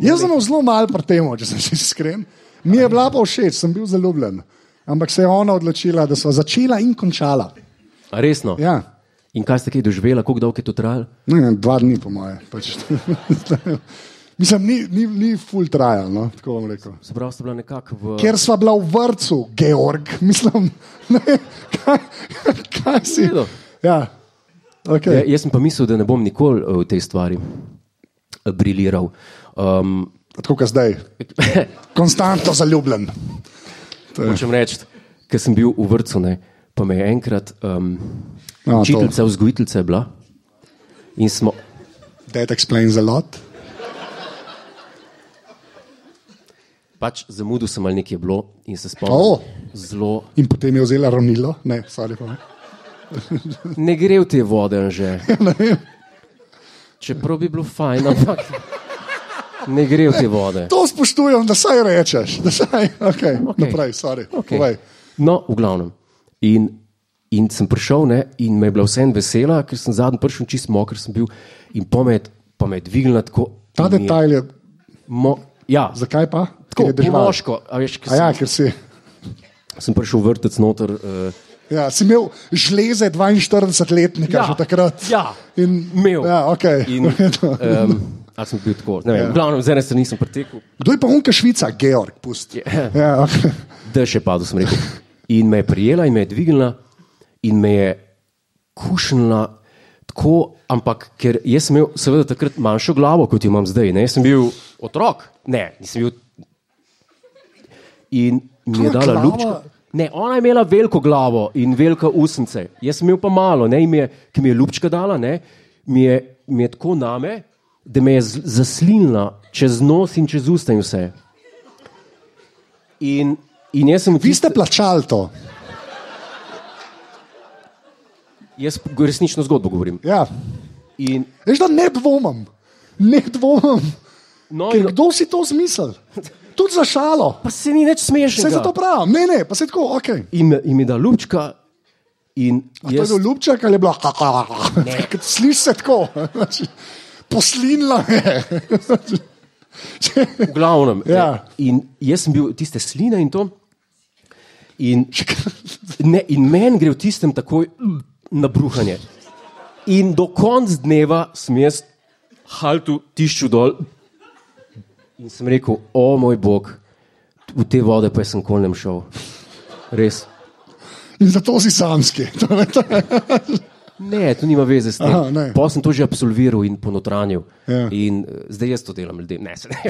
S1: Jaz sem imel zelo malo pri tem, če sem čisto iskren. Mi je bila pa všeč, sem bil zaljubljen. Ampak se je ona odločila, da smo začela in končala.
S2: A Resno.
S1: Ja.
S2: In kaj ste kaj doživela, kako dolgo je to trajalo?
S1: Ne, ne, dva dni, po moje. Pač, <laughs> Mislim, ni, ni, ni full trial, no, tako bom rekel.
S2: Se pravi, ste bila nekako v.
S1: Ker sva bila v vrtu, Georg, <laughs> mislim, ne, kaj, kaj si.
S2: Redu.
S1: Ja, okay.
S2: Ja, jaz sem pa mislil, da ne bom nikoli eh, v tej stvari eh, briljiral. Um,
S1: Tako kot zdaj. Konstantno zaljubljen.
S2: <laughs> Hočem reči, ker sem bil v vrtu, ne, pa me je enkrat um,
S1: No, to.
S2: učiteljica, vzgojiteljica je bila in smo.
S1: That explains a lot.
S2: Pač zamudil sem ali nekaj je bilo in
S1: O.
S2: se spomnil. Zelo
S1: In potem je vzela ravnilo, ne, sorry. Pa.
S2: ne gre v te vode,
S1: <laughs>
S2: že.
S1: Ja, Ne vem.
S2: Čeprav bi bilo fajn, ampak ne gre v te vode.
S1: To spoštujem, da saj rečeš, da saj, okay, okay.
S2: Okej.
S1: naprej, sorry.
S2: Okej.
S1: Okay.
S2: No, v glavnem. In, in sem prišel ne, in me je bila vsem vesela, ker sem zadnji prišel čist moker, sem bil in pomet, pomet dvignila tako.
S1: Ta
S2: in je
S1: detajl je,
S2: Mo, ja,
S1: zakaj pa?
S2: tako
S1: Ker je država.
S2: moško. a Veš,
S1: A
S2: ja.
S1: ja, ker si.
S2: Sem prišel vrtec noter. Uh,
S1: Ja, si imel žleze 42-letnika
S2: Ja,
S1: že takrat.
S2: ja,
S1: in
S2: imel.
S1: <laughs> Ja, okay.
S2: in,
S1: in...
S2: um, a sem bil tako, ne vem, ja. v glavnem, z ene strani sem pretekel,
S1: Kdo je pa unka Švica, Georg? Pusti.
S2: Ja.
S1: Ja, okay.
S2: da še padel, sem rekel. In me je prijela, in me je dvignila, in me je kušnila tako, ampak ker jaz sem imel, seveda, takrat manjšo glavo, kot jo imam zdaj. Ne? Jaz sem bil otrok, ne, nisem bil. In mi je
S1: Tvoja
S2: dala
S1: glava?
S2: lučko. Ne, ona je imela veliko glavo in velika usnice, jaz sem imel pa malo, ne, in mi je, ki mi je ljubčka dala, ne, mi, je, mi je tako name, da me je z- zaslinila čez nos in čez usta in vse. In, in jaz sem
S1: Vi ste plačali to.
S2: Jaz resnično zgodbo govorim.
S1: Ja.
S2: In,
S1: Veš, da ne dvomim, ne dvomim.
S2: no,
S1: Ker
S2: in,
S1: kdo si to zmislil? Tudi za šalo.
S2: pa se ni več smešno.
S1: Se za to pravi, ne, ne, pa se tako, ok.
S2: In, me- in mi da lučka. In
S1: A To je
S2: jaz,
S1: bil ljubček ali je bilo, <laughs> kot slišiš se tako. Poslinila je.
S2: v glavnem,
S1: Ja.
S2: eh, in jaz sem bil tiste sline in to. In, ne, in meni gre v tistem takoj mm, na bruhanje. In do konca dneva sem jaz haltu tišču dol. In sem rekel, o moj bog, v te vode pa jaz sem kolnem šel. Res.
S1: In zato si samski. To je to.
S2: Ne, to nima veze s
S1: Aha,
S2: tem.
S1: ne.
S2: Pol sem to že absolviral in ponotranil.
S1: Ja.
S2: In eh, zdaj jaz to delam ljudem. Ne, <laughs> se ne.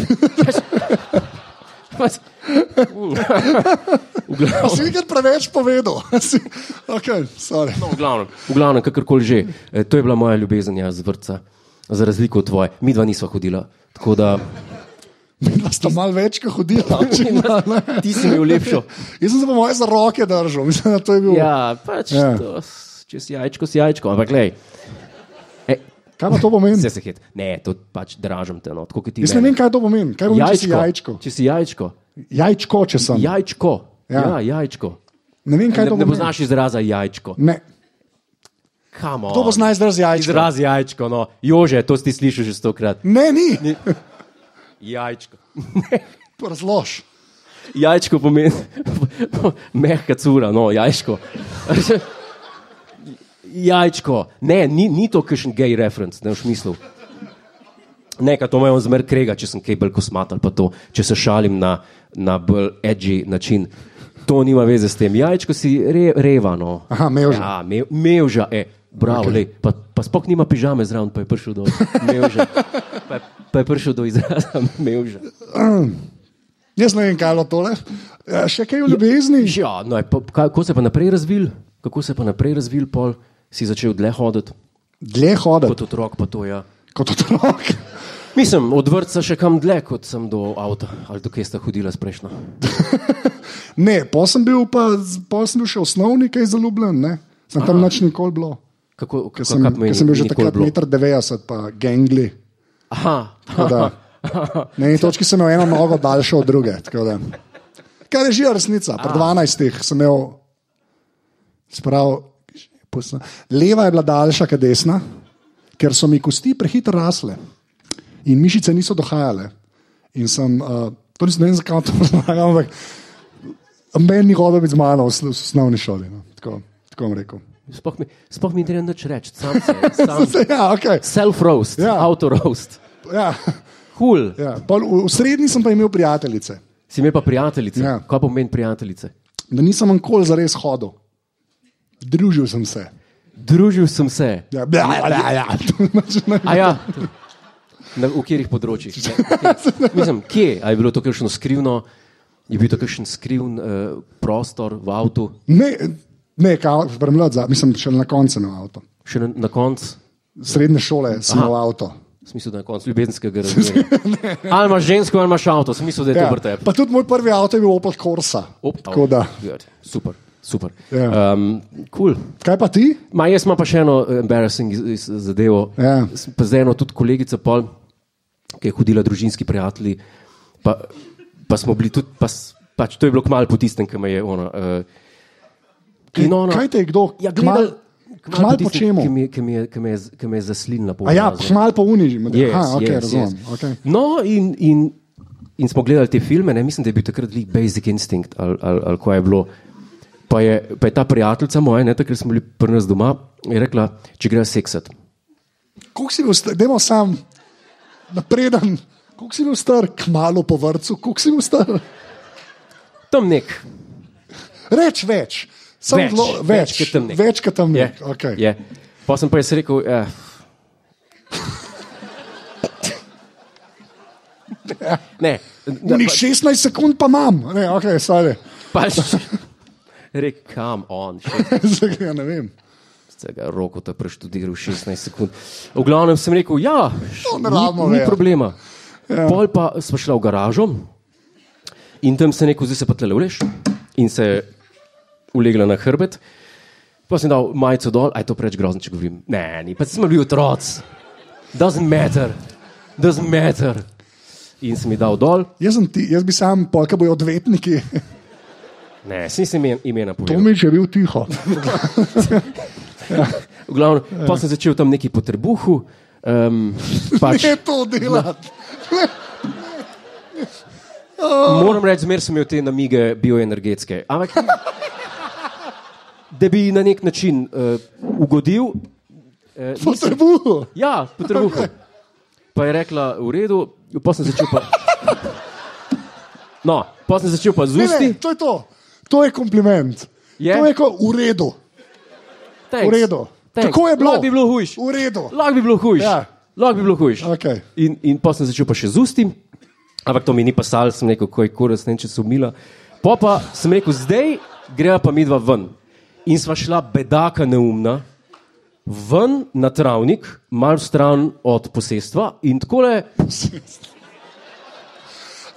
S2: Pač, mm. v
S1: Pa
S2: glavnem,
S1: Si nekaj preveč povedal. <laughs> Si- Okay, sorry.
S2: v glavnem, v glavnem kakorkoli že. Eh, To je bila moja ljubezen ja, z vrca, za razliko od tvoje. Mi dva nisva hodila. Tako da
S1: Bila sta malo več, kot hodila. <laughs> očitno, ne.
S2: ti si imel lepšo.
S1: Jaz sem se po moje za roke držal, <laughs> mislim, da to je bil.
S2: Ja, pač,
S1: Ja.
S2: ja. To, s- če si jajčko, si jajčko. Ampak glej,
S1: Kaj pa to pomeni?
S2: vse se hit. Ne, to pač dražim te. No, tako kot ti.
S1: Jaz ne vem, kaj to pomeni. Kaj pomeni, če si jajčko?
S2: Če si jajčko.
S1: Jajčko, če sem.
S2: Jajčko.
S1: Ja.
S2: Ja, ja jajčko.
S1: Ne vem, kaj
S2: Ne,
S1: to
S2: ne
S1: pomeni.
S2: poznaš izraza jajčko.
S1: Ne.
S2: Kamo.
S1: To pozna izraz jajčko.
S2: Izraz jajčko, no. Jože, to si slišal že stokrat.
S1: Ne, ni.
S2: Jajčko.
S1: Razlož.
S2: Jajčko pomeni <laughs> mehka cura, no, jajčko. <laughs> Jajčko. Ne, ni, ni to kakšen gej referenc, ne v smislu. Nekaj to imajo zmer krega, če sem kaj bolj kosmat ali pa to, če se šalim na, na bolj edgy način. To nima veze s tem. Jajčko si re, revano.
S1: Aha, mevža.
S2: Ja, mev, mevža, e, bravo, okay. lej, pa, pa spok nima pižame zraven, pa je prišel do mevža. Pa, je- pa je prišel do izraza <laughs> mevža.
S1: Jaz ne vem, kaj je bilo tole. Ja, še kaj v ljubezni?
S2: Ja, no, je pa, kaj- kako se je pa naprej razvil, kako se je pa naprej razvil, pol si začel dlje hoditi
S1: Dlje
S2: kot
S1: hoditi
S2: otrok, pa to ja.
S1: kot otrok.
S2: Mislim, od vrtca še kam dlje, kot sem do avta ali do kje sta hodila sprejšnja.
S1: Ne, pol sem bil pa, pol sem bil še osnovni, kaj zaljubljen. Ne? Sem tam nič nikoli bilo.
S2: Kako, kako,
S1: Ker sem,
S2: kaj
S1: ker
S2: pomeni
S1: sem bil že
S2: nikoli
S1: takrat
S2: bilo?
S1: 1,90 m, pa gangli.
S2: Aha,
S1: Tako Da, Na eni točki sem imel eno nogo daljšo od druge. tako da. Kar je že resnica, pri 12 sem imel, sprav, leva je bila daljša kot desna, ker so mi kosti prehitro rasle in mišice niso dohajale. In sem, uh, to nisem ne vem, zakaj to <laughs> razlagam, ampak meni ni hodil biti z mano v sl- v osnovni šoli. No. Tako, tako bom rekel.
S2: <laughs>
S1: <laughs>
S2: Sploh mi, sploh mi ne treba nič reči, sam se, sam
S1: <laughs> Ja, okay.
S2: self-roast,
S1: Ja.
S2: ja. auto-roast,
S1: ja,
S2: hul. Ja.
S1: ja. Pol, v, v srednji sem pa imel prijateljice,
S2: Si imel pa prijateljice.
S1: Ja.
S2: Ja. Kaj pomeni prijateljice?
S1: da nisem nikoli zares hodil. Družil sem se.
S2: Družil sem se.
S1: Ja, bla, bla, ja. <laughs>
S2: A ja, na, v katerih področjih? Ne, okej. Mislim, kje A je bilo to kakšno skrivno, je bil to kakšen skrivn uh, prostor v avtu,
S1: Ne, ne premlad, mislim, še na koncu na avto.
S2: še na, na koncu.
S1: Srednje šole sem imel avto.
S2: V smislu, da je na koncu
S1: <laughs>
S2: ljubezenskega razmerja. Ali imaš žensko, ali imaš avto, v smislu, da je to
S1: Ja.
S2: vrte.
S1: Pa tudi moj prvi avto je bil Opel Corsa. Tako da.
S2: Super, super.
S1: Ja.
S2: Um, cool.
S1: Kaj pa ti?
S2: Ma, jaz imam pa še eno eh, embarrassing iz- iz- zadevo.
S1: Ja.
S2: S- Pa zdaj eno tudi kolegica, pol, ki je hodila družinski prijatelji. Pa, pa smo bili tudi, pa, s- pač to je bilo kmalo po tistem, ki me je ona. Uh, in ona
S1: Kaj te je kdo?
S2: Ja,
S1: Kmal-
S2: gledal,
S1: kmal po čemu?
S2: Ki mi, je- ki mi, je- ki me je z- ki me je zaslinila. po
S1: A ja,
S2: obrazu.
S1: mal pa uniži.
S2: Yes,
S1: Aha, ok,
S2: yes,
S1: razumem.
S2: yes.
S1: Okay.
S2: No, in, in, in smo gledali te filme, ne? mislim, da je bil takrat lik Basic Instinct ali, ali, ali kaj je bilo. Pa je, pa je ta prijateljica moja, ne, takrat smo bili pri nas doma, je rekla, če greš seksat.
S1: Kako si bil star, dajmo sam napreden, kako si bil star, kmalo po vrtu, kako si bil star.
S2: Tam nek.
S1: Reč več, samo
S2: Več,
S1: zelo-
S2: več
S1: več,
S2: kot tam nek. Ja.
S1: več kot tam
S2: Je,
S1: nek. Okay.
S2: je. Pa sem pa jaz rekel, eh,
S1: <laughs>
S2: ne, ne,
S1: Unih 16 sekund pa imam, ne, ok, stari. <laughs>
S2: pa, pač, rekel, kam on, še
S1: ja, ne vem.
S2: Vsega roko ta preštudiral 16 sekund. V glavnem sem rekel, ja, š-
S1: To ne rabimo
S2: ni, ni
S1: vedeti.
S2: problema. Ja. Pol pa smo šli v garažo in tam sem rekel, zdaj se pa tle uleš in se ulegla na hrbet. Pa sem dal majico dol, aj to preveč grozno, če govorim. Ne, ni, pa smo bili otroci. Doesn't matter, doesn't matter. In sem jih dal dol,
S1: Jaz, sem ti, jaz bi sam, polka bojo odvetniki, <laughs>
S2: ne, sem jim imena povedal.
S1: Tomič je bil tiho.
S2: V glavnem, pa
S1: Ja.
S2: sem začel tam neki potrebuhu. Um, <laughs> pač,
S1: <laughs> Ne to delati.
S2: Moram reči, zmeraj sem imel te namige bioenergetske. Ampak, da bi na nek način uh, ugodil, eh,
S1: Potrebuhu.
S2: ja, potrebuhu. Pa je rekla, v redu, pa sem začel pa. No, pa sem začel pa z
S1: Ne, ne,
S2: usti.
S1: to je to. To je kompliment.
S2: Je?
S1: To je kot v redu.
S2: Thanks.
S1: V redu.
S2: Thanks.
S1: Tako je bilo.
S2: Lahko bi bilo hujš.
S1: V redu.
S2: Lahko bi bilo hujš.
S1: Ja.
S2: Lahko bi bilo hujš.
S1: Okej.
S2: In, in pa sem začel pa še z ustim, ampak to mi ni pasal, sem rekel, ko je kuras, ne vem, če se umila. Po pa sem rekel, zdaj greva pa midva ven. In sva šla bedaka neumna, ven na travnik, malo stran od posestva in takole.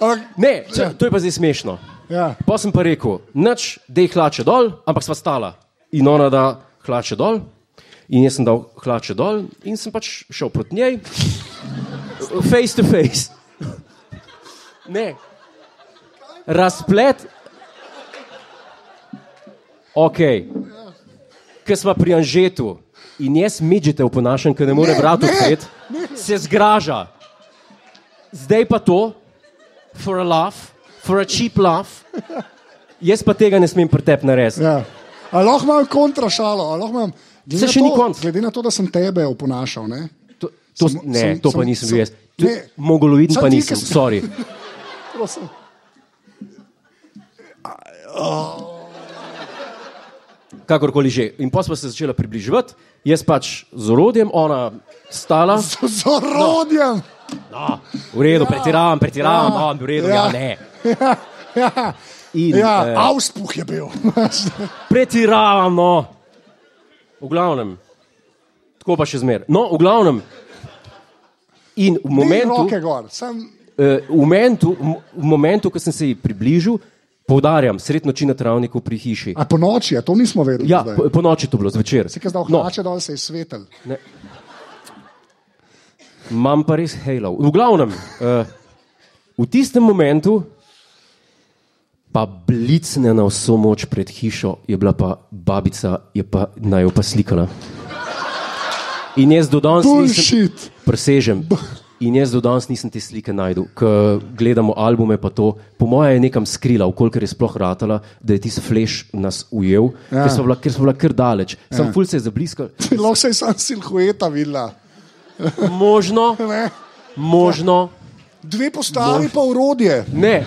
S1: Ampak,
S2: Ne, če, to je pa zdaj smešno.
S1: Ja.
S2: Pa sem pa rekel, noč, da je hlače dol, ampak sva stala. In ona da hlače dol, in jaz sem dal hlače dol, in sem pač šel proti njej, face to face. Ne. Razplet. Ok. Ker smo pri Anžetu in jaz midžete oponašam, ker ne more vrat odpreti, se zgraža. Zdaj pa to, for a laugh, for a cheap laugh. <laughs> Jaz pa tega ne smem pretep narediti.
S1: ja. A Lahko imam kontrašalo, a lahko imam. Glede
S2: Saj
S1: na
S2: še ni
S1: to-
S2: konc.
S1: Glede na to, da sem tebe oponašal. Ne?
S2: To, to,
S1: Sem-
S2: ne,
S1: sem-
S2: to pa
S1: sem-
S2: nisem
S1: sem-
S2: bil jaz.
S1: ne.
S2: Mongoloiden
S1: Samo
S2: pa
S1: ti,
S2: nisem,
S1: ki si-
S2: sorry.
S1: Prosim.
S2: Kakorkoli že. In pa smo se začeli približevati, jaz pač z orodjem, ona stala.
S1: <laughs> Z orodjem.
S2: No, v redu, pretiravam, pretiravam, no, v redu, ja,
S1: Ja.
S2: ne.
S1: Ja, ja.
S2: In,
S1: ja
S2: eh,
S1: avspuh je
S2: <laughs>
S1: bil.
S2: Pretiravam, no. V glavnem. Tako pa še zmeraj. No, v glavnem. In v
S1: Moment.
S2: momentu,
S1: Roke gor. Sem,
S2: eh, v momentu, v momentu ko sem se ji približil, poudarjam, sred noči na travniku pri hiši.
S1: a po noči, a to nismo vedeli.
S2: Ja,
S1: zdaj.
S2: po, No. po noči to bilo, zvečer.
S1: Si kaj zdal,
S2: No,
S1: hlače dol se je svetel.
S2: imam pa res halo. V glavnem, uh, v tistem momentu, pa blicne na vso moč pred hišo, je bila pa babica, je pa naj jo pa slikala. In jaz do danes nisem,
S1: Bullshit.
S2: presežem. In jaz do danes nisem te slike najdel. Ko gledamo albume, pa to, po mojem, je nekam skrila, kolikor je sploh ratala, da je tisti flash nas ujel,
S1: Ja.
S2: ja. ker smo bila- ker smo bila kar daleč. Sam ja. ful se je zabliskal.
S1: Lahko se je sam silhueta videla.
S2: Možno,
S1: Ne?
S2: možno,
S1: Dve
S2: No.
S1: postavi pa urodje.
S2: ne.
S1: <laughs>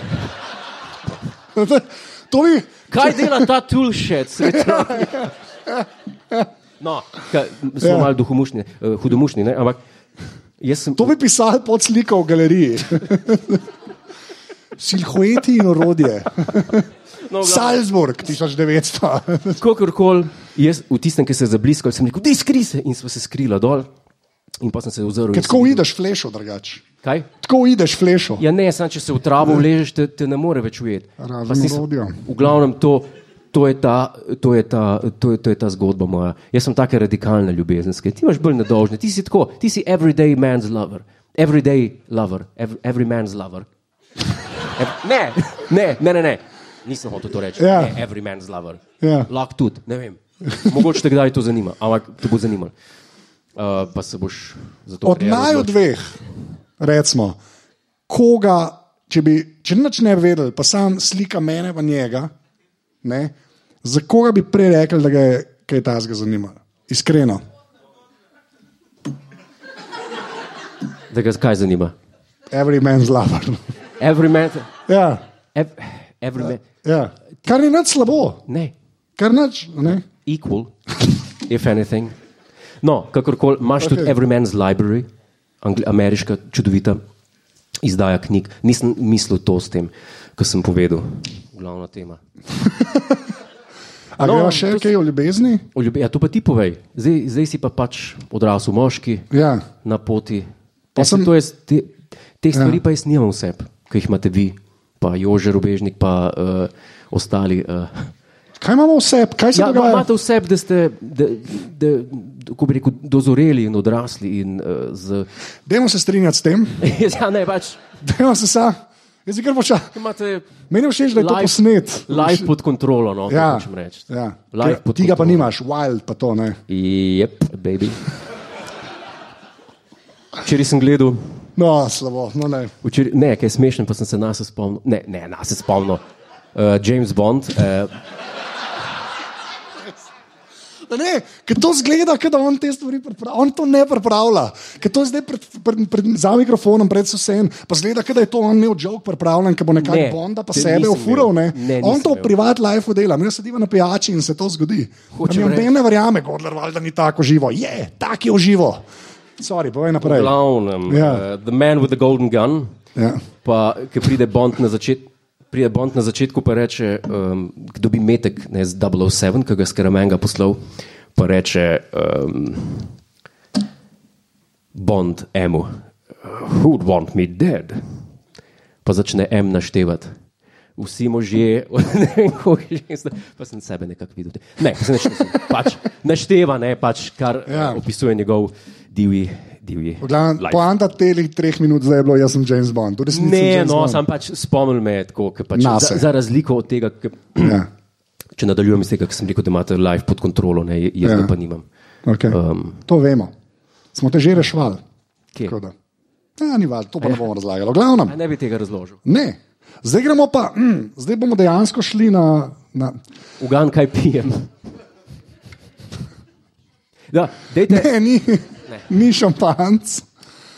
S1: To bi,
S2: Kaj dela ta tulšec? No, ka, smo
S1: Ja.
S2: malo duhomušni, eh, hudomušni, ne? ampak jaz sem.
S1: to bi pisali pod sliko v galeriji. <laughs> Silhueti in urodje.
S2: No, v glavnem,
S1: Salzburg 1900.
S2: Kakorkoli, jaz v tistem, ki se je zabliskal, sem rekel, da je skrise in smo se skrila dol. In pa sem se ozrl. in
S1: Ker <laughs> tako
S2: sem-
S1: ideš flešo drugače.
S2: Kaj?
S1: Tako ideš flešo.
S2: Ja, ne, samo če se v travo vležeš, te, te ne more več ujeti.
S1: Razen
S2: Pa sem se-
S1: orodja.
S2: V glavnem, to, to, je ta, to, je ta, to, je, to je ta zgodba moja. Jaz sem tako radikalna ljubezenska. Ti imaš bolj nedolžne, ti si tako, ti si everyday man's lover. Everyday lover, every, every man's lover. Ev, ne, ne, ne, ne, ne. Nisem hotel to reči.
S1: Ja.
S2: Ne, every man's lover.
S1: Ja.
S2: Lahko tudi, ne vem. Mogoče te kdaj to zanima, ampak te bo zanimalo. Uh, pa se boš za to
S1: Od
S2: kariero
S1: naju
S2: odločil.
S1: dveh, recimo, koga, če, bi, če nič ne bi vedel, pa sam slika mene in njega, ne, za koga bi prej rekel, da ga je kaj tasga zanimalo. Iskreno.
S2: Da ga kaj zanima.
S1: Every man's lover. <laughs>
S2: Every man,
S1: ja,
S2: ev, every man.
S1: ja. Kar ni nič slabo,
S2: Ne,
S1: kar nič. Ne?
S2: equal, if anything. No, kakorkoli, imaš okay. tudi
S1: Okay.
S2: Every Man's Library, angli, ameriška čudovita izdaja knjig. Nisem mislil to s tem, kar sem povedal, glavna tema.
S1: A no,
S2: No,
S1: greva še
S2: to s-
S1: kaj o ljubezni?
S2: O Ljube, ja, to pa ti povej, zdaj, zdaj si pa pač odrasel moški
S1: Ja.
S2: na poti.
S1: Pa
S2: Jaz
S1: sem-
S2: sem... to jaz, te, teh stvari ja. pa jaz nimam vseb, ki jih imate vi, pa Jože Rubežnik, pa uh, ostali. Uh,
S1: Kaj imamo vse, kaj se
S2: Ja, ma-
S1: dogaja?
S2: imate vse, da ste da, da, da, kako bi rekel, dozoreli in odrasli. In, uh, z... <laughs>
S1: Dajmo se strinjati s tem, <laughs>
S2: ja, ne, pač,
S1: dajmo se sa. Jaz bi kar počel.
S2: imate
S1: Meni je všeč, da je to
S2: Live-
S1: posnet.
S2: life pod kontrolo. No,
S1: Ja,
S2: ja,
S1: ja.
S2: life
S1: Ker
S2: pod
S1: Ti ga pa
S2: kontrolo.
S1: nimaš, wild pa to ne.
S2: Jep,
S1: <laughs>
S2: baby. Včeraj sem gledal,
S1: No, slabo, no ne.
S2: včeraj, ne, kaj je smešen, pa sem se nas spomnil. Ne, ne, nas je spomnil. Uh, James Bond, uh,
S1: Da ne, ker to zgleda, kot da on te stvari pripravlja. On to ne pripravlja, ker to je zdaj pred, pred, pred, za mikrofonom, pred vsem. Pa zgleda, kot da je to on imel joke pripravljen, ki bo nekaj
S2: Ne,
S1: ne, Bonda, pa
S2: te
S1: sebe
S2: nisem
S1: ofural. Ne.
S2: imel. Ne,
S1: on
S2: nisem
S1: to
S2: imel.
S1: v privat life dela, mi sedimo na pijači in se to zgodi.
S2: Hočem
S1: Ampak
S2: reči-
S1: noben ne verjame, Godler, valjda ni tako živo. Je, tak je uživo. Sorry, povej naprej.
S2: glavnem,
S1: Ja.
S2: yeah. uh, The Man with the Golden Gun.
S1: Ja.
S2: pa ki pride Bond na začetku. Pride Bond na začetku in reče, um, kdo bi metek ne, z 007, ki ga je Skaramenga poslal, pa reče um, Bond Emu, who'd want me dead? Pa začne M naštevati. Vsi možje, <laughs> ne vem, kako je že, pa sem sebe nekako videl. Ne, se nešteva, pač, našteva, ne, pač, kar ja.
S1: Ja.
S2: opisuje njegov divji, divji.
S1: V glavnem,
S2: life.
S1: Poanta teh treh minut zdaj je bilo, jaz sem James Bond. V resnici sem
S2: Ne,
S1: James
S2: no,
S1: Bond.
S2: sam pač spomnim me je tako, ker pač za,
S1: Nase.
S2: za razliko od tega, ke, <clears throat>
S1: Ja.
S2: če nadaljujem iz tega, kar sem rekel, da imate live pod kontrolo, ne, jaz ja.
S1: Ja.
S2: pa nimam.
S1: Okay.
S2: Um.
S1: Um, to vemo. Smo te že rešvali.
S2: Kje?
S1: Tako da. Ja, ni važno, to pa ne bomo razlagali. V glavnem,
S2: A ne bi tega razložil.
S1: ne. Zdaj gremo pa, mm, zdaj bomo dejansko šli na. na <laughs>
S2: Ugan, kaj pijem. Da, dejte,
S1: ne, ni, ne. ni šampanc.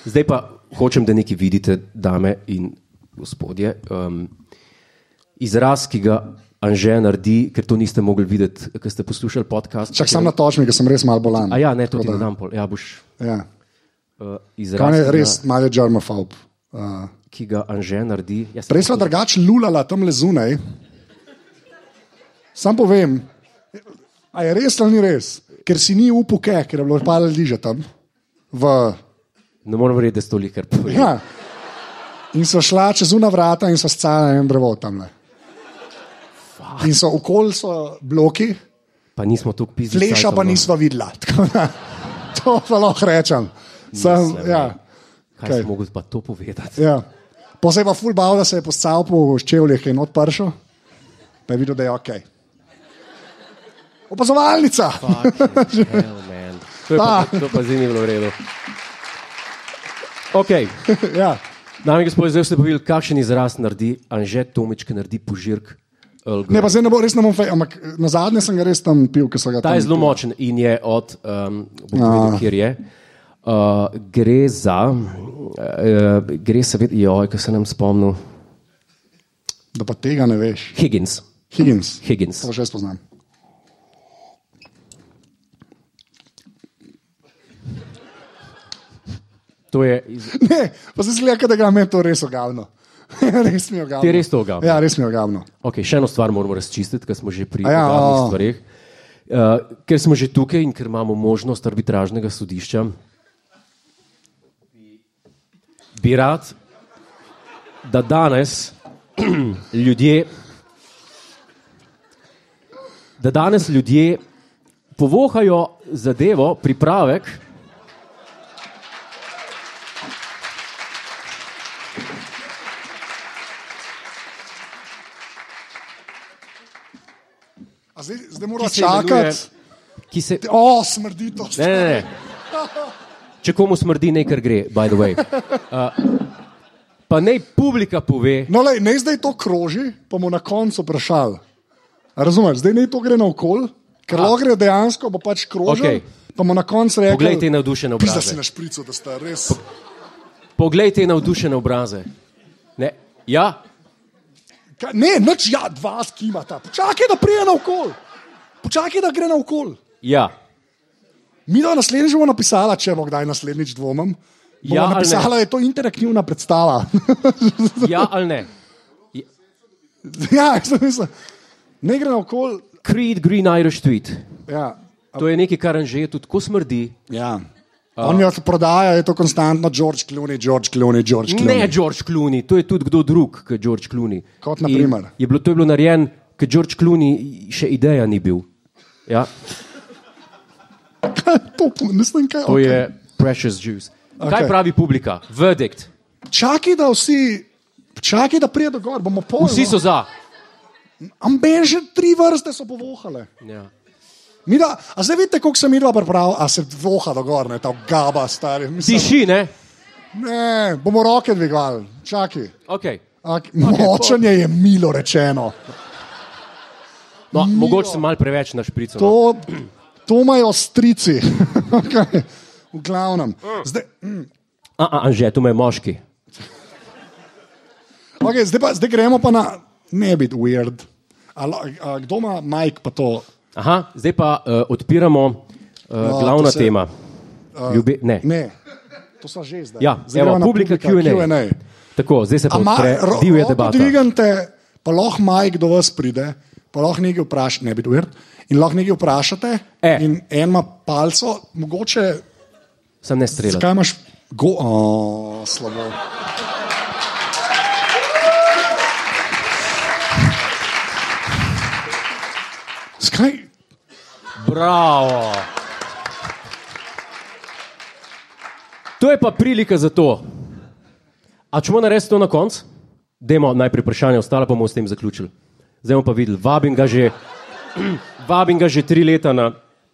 S2: zdaj pa hočem, da nekaj vidite, dame in gospodje. Um, izraz, ki ga Anže naredi, ker to niste mogli videti, ker ste poslušali podcast.
S1: Čak sam na točmi, ker sem res malo bolan.
S2: A ja, ne, to ti
S1: Tako
S2: ne
S1: da,
S2: dam pol. Ja, boš
S1: Ja. On
S2: uh, izraz,
S1: je
S2: ki ga,
S1: res malo žarmofob. Uh,
S2: ki ga Anže naredi. Ja, sem
S1: prej smo drugače lulala tam le zunaj. Sam povem, a je res ali ni res, ker si ni upuke, ker je bilo par ljudi že tam. V
S2: Ne morem verjeti, da ste to likar povedali.
S1: Ja. In so šla čez una vrata in so scala en drevo tam. In so okoli so bloki,
S2: Pa nismo tu
S1: <laughs>
S2: pisali.
S1: fleša pa nismo videla. Tako da, To pa lahko rečem. Sem, ja.
S2: Kaj
S1: Kaj?
S2: sem mogel pa to povedati?
S1: Ja. Pa se je pa ful bal, da se je postal po ščevljih in odpršil, pa je videl, da je ok. Opazovalnica!
S2: Fucking hell, man.
S1: <laughs>
S2: To, je pa,
S1: Ah.
S2: to pa zdaj ni bilo v redu. Okay.
S1: <laughs> ja.
S2: Dame in gospodje, zdaj ste povedali, kakšen izraz naredi Anže Tomič, ki naredi požirk. eh, Earl Grey.
S1: Ne, pa zdaj ne bo res ne bom fej, ampak na zadnje sem ga res tam pil, ker so ga
S2: Ta
S1: tam.
S2: je zelo močen in je od, um, bom
S1: Ja.
S2: povedal, kjer je. Uh, gre za, uh, gre seveda, joj, ki se nam spomnil,
S1: Da pa tega ne veš.
S2: Higgins.
S1: Higgins.
S2: Higgins.
S1: To še jaz poznam.
S2: To je iz...
S1: Ne, pa se zgleda, kot da ga me to res ogavno. <laughs> res mi je ogavno.
S2: Ti je res to ogavno?
S1: Ja, res mi je ogavno.
S2: okay, še eno stvar moramo razčistiti, ker smo že pri
S1: A ja,
S2: ja,
S1: a.
S2: podobnih stvareh. Uh, ker smo že tukaj in ker imamo možnost arbitražnega sodišča, bi- bi rad, da danes <clears throat> ljudje, da danes ljudje povohajo zadevo, pripravek.
S1: A zdaj, zdaj moramo
S2: ki se imenuje-
S1: čakati.
S2: Ki se,
S1: O, smrdi to.
S2: Ne, ne, ne. Če komu smrdi, naj kar gre, by the way. Uh, pa naj publika pove,
S1: No, lej, ne zdaj to kroži, pa bomo na koncu vprašali. A Razumeš, zdaj ne to gre naokol, ker
S2: A.
S1: lahko gre dejansko, pa pač kroži.
S2: Okej.
S1: Okay. Pa bomo na koncu rekli:
S2: poglejte navdušene
S1: pizda si
S2: obraze.
S1: na šprico, da ste res.
S2: Poglejte navdušene obraze. Ne. Ja,
S1: Ka, ne, noč ja, dva skimata. Počakaj, da prije naokol. Počakaj, da gre naokol.
S2: ja.
S1: Mi da naslednjič bomo napisala, če bo kdaj naslednjič dvomim.
S2: Ja
S1: Ja,
S2: ali ne?
S1: napisala je to interaktivna predstava. <laughs>
S2: ja ali ne.
S1: ja, jaz sem mislil, ne gre naokol.
S2: Creed Green Irish Tweet.
S1: Ja.
S2: To je nekaj, kar anže tudi tako smrdi.
S1: Ja. On jo prodaja, je to konstantno George Clooney, George Clooney, George Clooney. <laughs>
S2: Ne George Clooney, to je tudi kdo drug kot George Clooney.
S1: Kot
S2: In
S1: na primer.
S2: Je bilo, to je bilo narejeno, ker George Clooney še ideja ni bil. Ja,
S1: to ne znam kaj.
S2: to
S1: okej.
S2: okay. je precious juice. Okay. Kaj
S1: Okej.
S2: pravi publika? Verdict.
S1: Čakaj, da vsi, čakaj, da pride do gor, bomo polni.
S2: Vsi so za.
S1: Amben že tri vrste so povohale.
S2: Ja.
S1: Mida, a zdaj vidite, koliko sem midva pripravil, a se voha do gor, ne ta gaba, stari. Mislim,
S2: Tiši, ne?
S1: ne, bomo roke dvigali, čakaj.
S2: Okay.
S1: <laughs> Okay, močanje je milo rečeno.
S2: No, mogoče sem malo preveč na šprico. no.
S1: To, to imajo strici. <laughs> okay. V glavnem. Zdaj, mm,
S2: A, a, anže, to me je moški.
S1: Okay, zdaj, pa, zdaj gremo pa na ne biti weird. A, la- a, kdo ima majk, pa to?
S2: Aha, zdaj pa uh, odpiramo uh, no,
S1: to
S2: glavna
S1: se-
S2: se, tema. Uh, Ljube, ne. ne.
S1: Ne, to so že zdaj.
S2: Ja,
S1: zdaj
S2: evo,
S1: gremo na
S2: publika Q&A.
S1: Q&A.
S2: Tako, zdaj se pa
S1: Ma-
S2: odpre
S1: ro-
S2: divja
S1: roko
S2: debata.
S1: Dvignite, pa lahko majk do vas pride, pa lahko nekaj vprašate, ne biti weird, in lahko nekaj vprašate.
S2: E.
S1: In en ima palco, mogoče,
S2: Sam ne streljam.
S1: zakaj imaš go, oh, slabo. Zakaj?
S2: Bravo. To je pa prilika za to. A če bomo naredili to na koncu, dajmo najprej vprašanje, ostalo pa bomo s tem zaključili. Zdaj bomo pa videli, vabim ga že, <clears throat> vabim ga že tri leta na,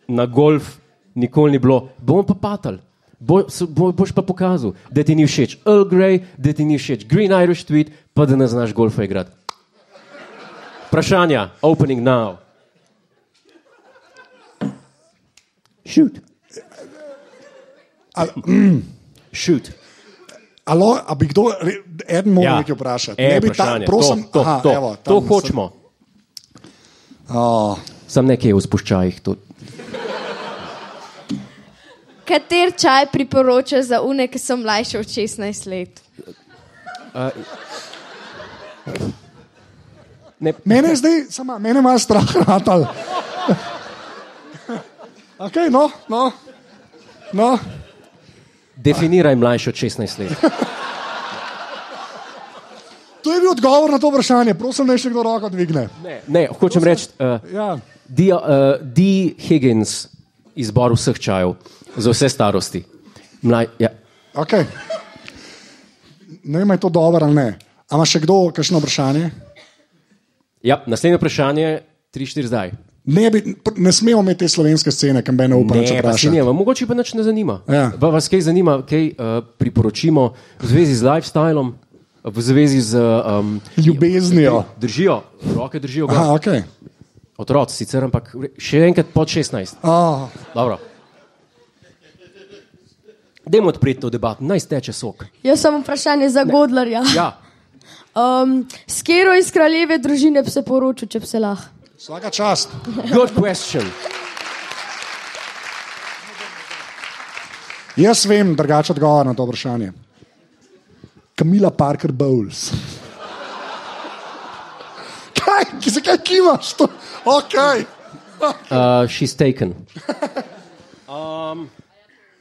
S2: na golf, nikoli ni bilo, bomo pa patal. Bo, s- bo, boš pa pokazal, da ti ni všeč Earl Grey, da ti ni všeč Green Irish Tweet, pa da ne znaš golfa igrati. Vprašanja, opening now. Shoot.
S1: Ali-
S2: <clears throat> Shoot.
S1: Alo, a bi kdo, re- eden mora ja. nekaj vprašati?
S2: E,
S1: ne bi
S2: vprašanje,
S1: prosim,
S2: to, to,
S1: aha,
S2: to,
S1: evo, tam
S2: to
S1: sem-
S2: hočemo.
S1: Oh,
S2: Sam nekaj je v spuščajih. To.
S3: Kater čaj priporoča za une, ki so mlajše od 16 let?
S2: Ne,
S1: mene je zdaj, sama, mene ima strah, <laughs> ratal. ok, no, no. no.
S2: definiraj mlajši od 16 let.
S1: To je bil odgovor na to vprašanje, prosim, naj še kdo roko dvigne.
S2: Ne, ne hočem reči, uh,
S1: Ja.
S2: D. Uh, D. Higgins, izbor vseh čajev, za vse starosti. Mlaj, ja.
S1: Okay. ne vem, ali je to dobro ali ne. A ima še kdo kakšno vprašanje?
S2: Ja, naslednje vprašanje, 3-4 zdaj.
S1: Ne, bi, pr- ne smemo imeti te slovenske scene, kam bi ne upali, če
S2: Ne, pa se
S1: vprašanje.
S2: ne, mogoče pa nič ne zanima.
S1: Ja.
S2: Pa vas kaj zanima, kaj uh, priporočimo v zvezi z lifestylom, v zvezi z um,
S1: Ljubeznijo.
S2: Držijo, roke držijo, gor.
S1: Aha, ok.
S2: otroci sicer, ampak v re- še enkrat pod 16.
S1: Oh,
S2: Dobro. Dajmo odpreti to debato, naj steče sok.
S4: Jaz sem vprašanje za Godlerja.
S2: Ja,
S4: Um, s katero iz kraljeve družine bi se poročil, če bi se lahko?
S1: vsaka čast.
S2: good question.
S1: Jaz vem drugače odgovor na to vprašanje. Kamila Parker Bowles. <laughs> Kaj, ki se kaj kimaš? To? Ok.
S2: Uh, she's taken.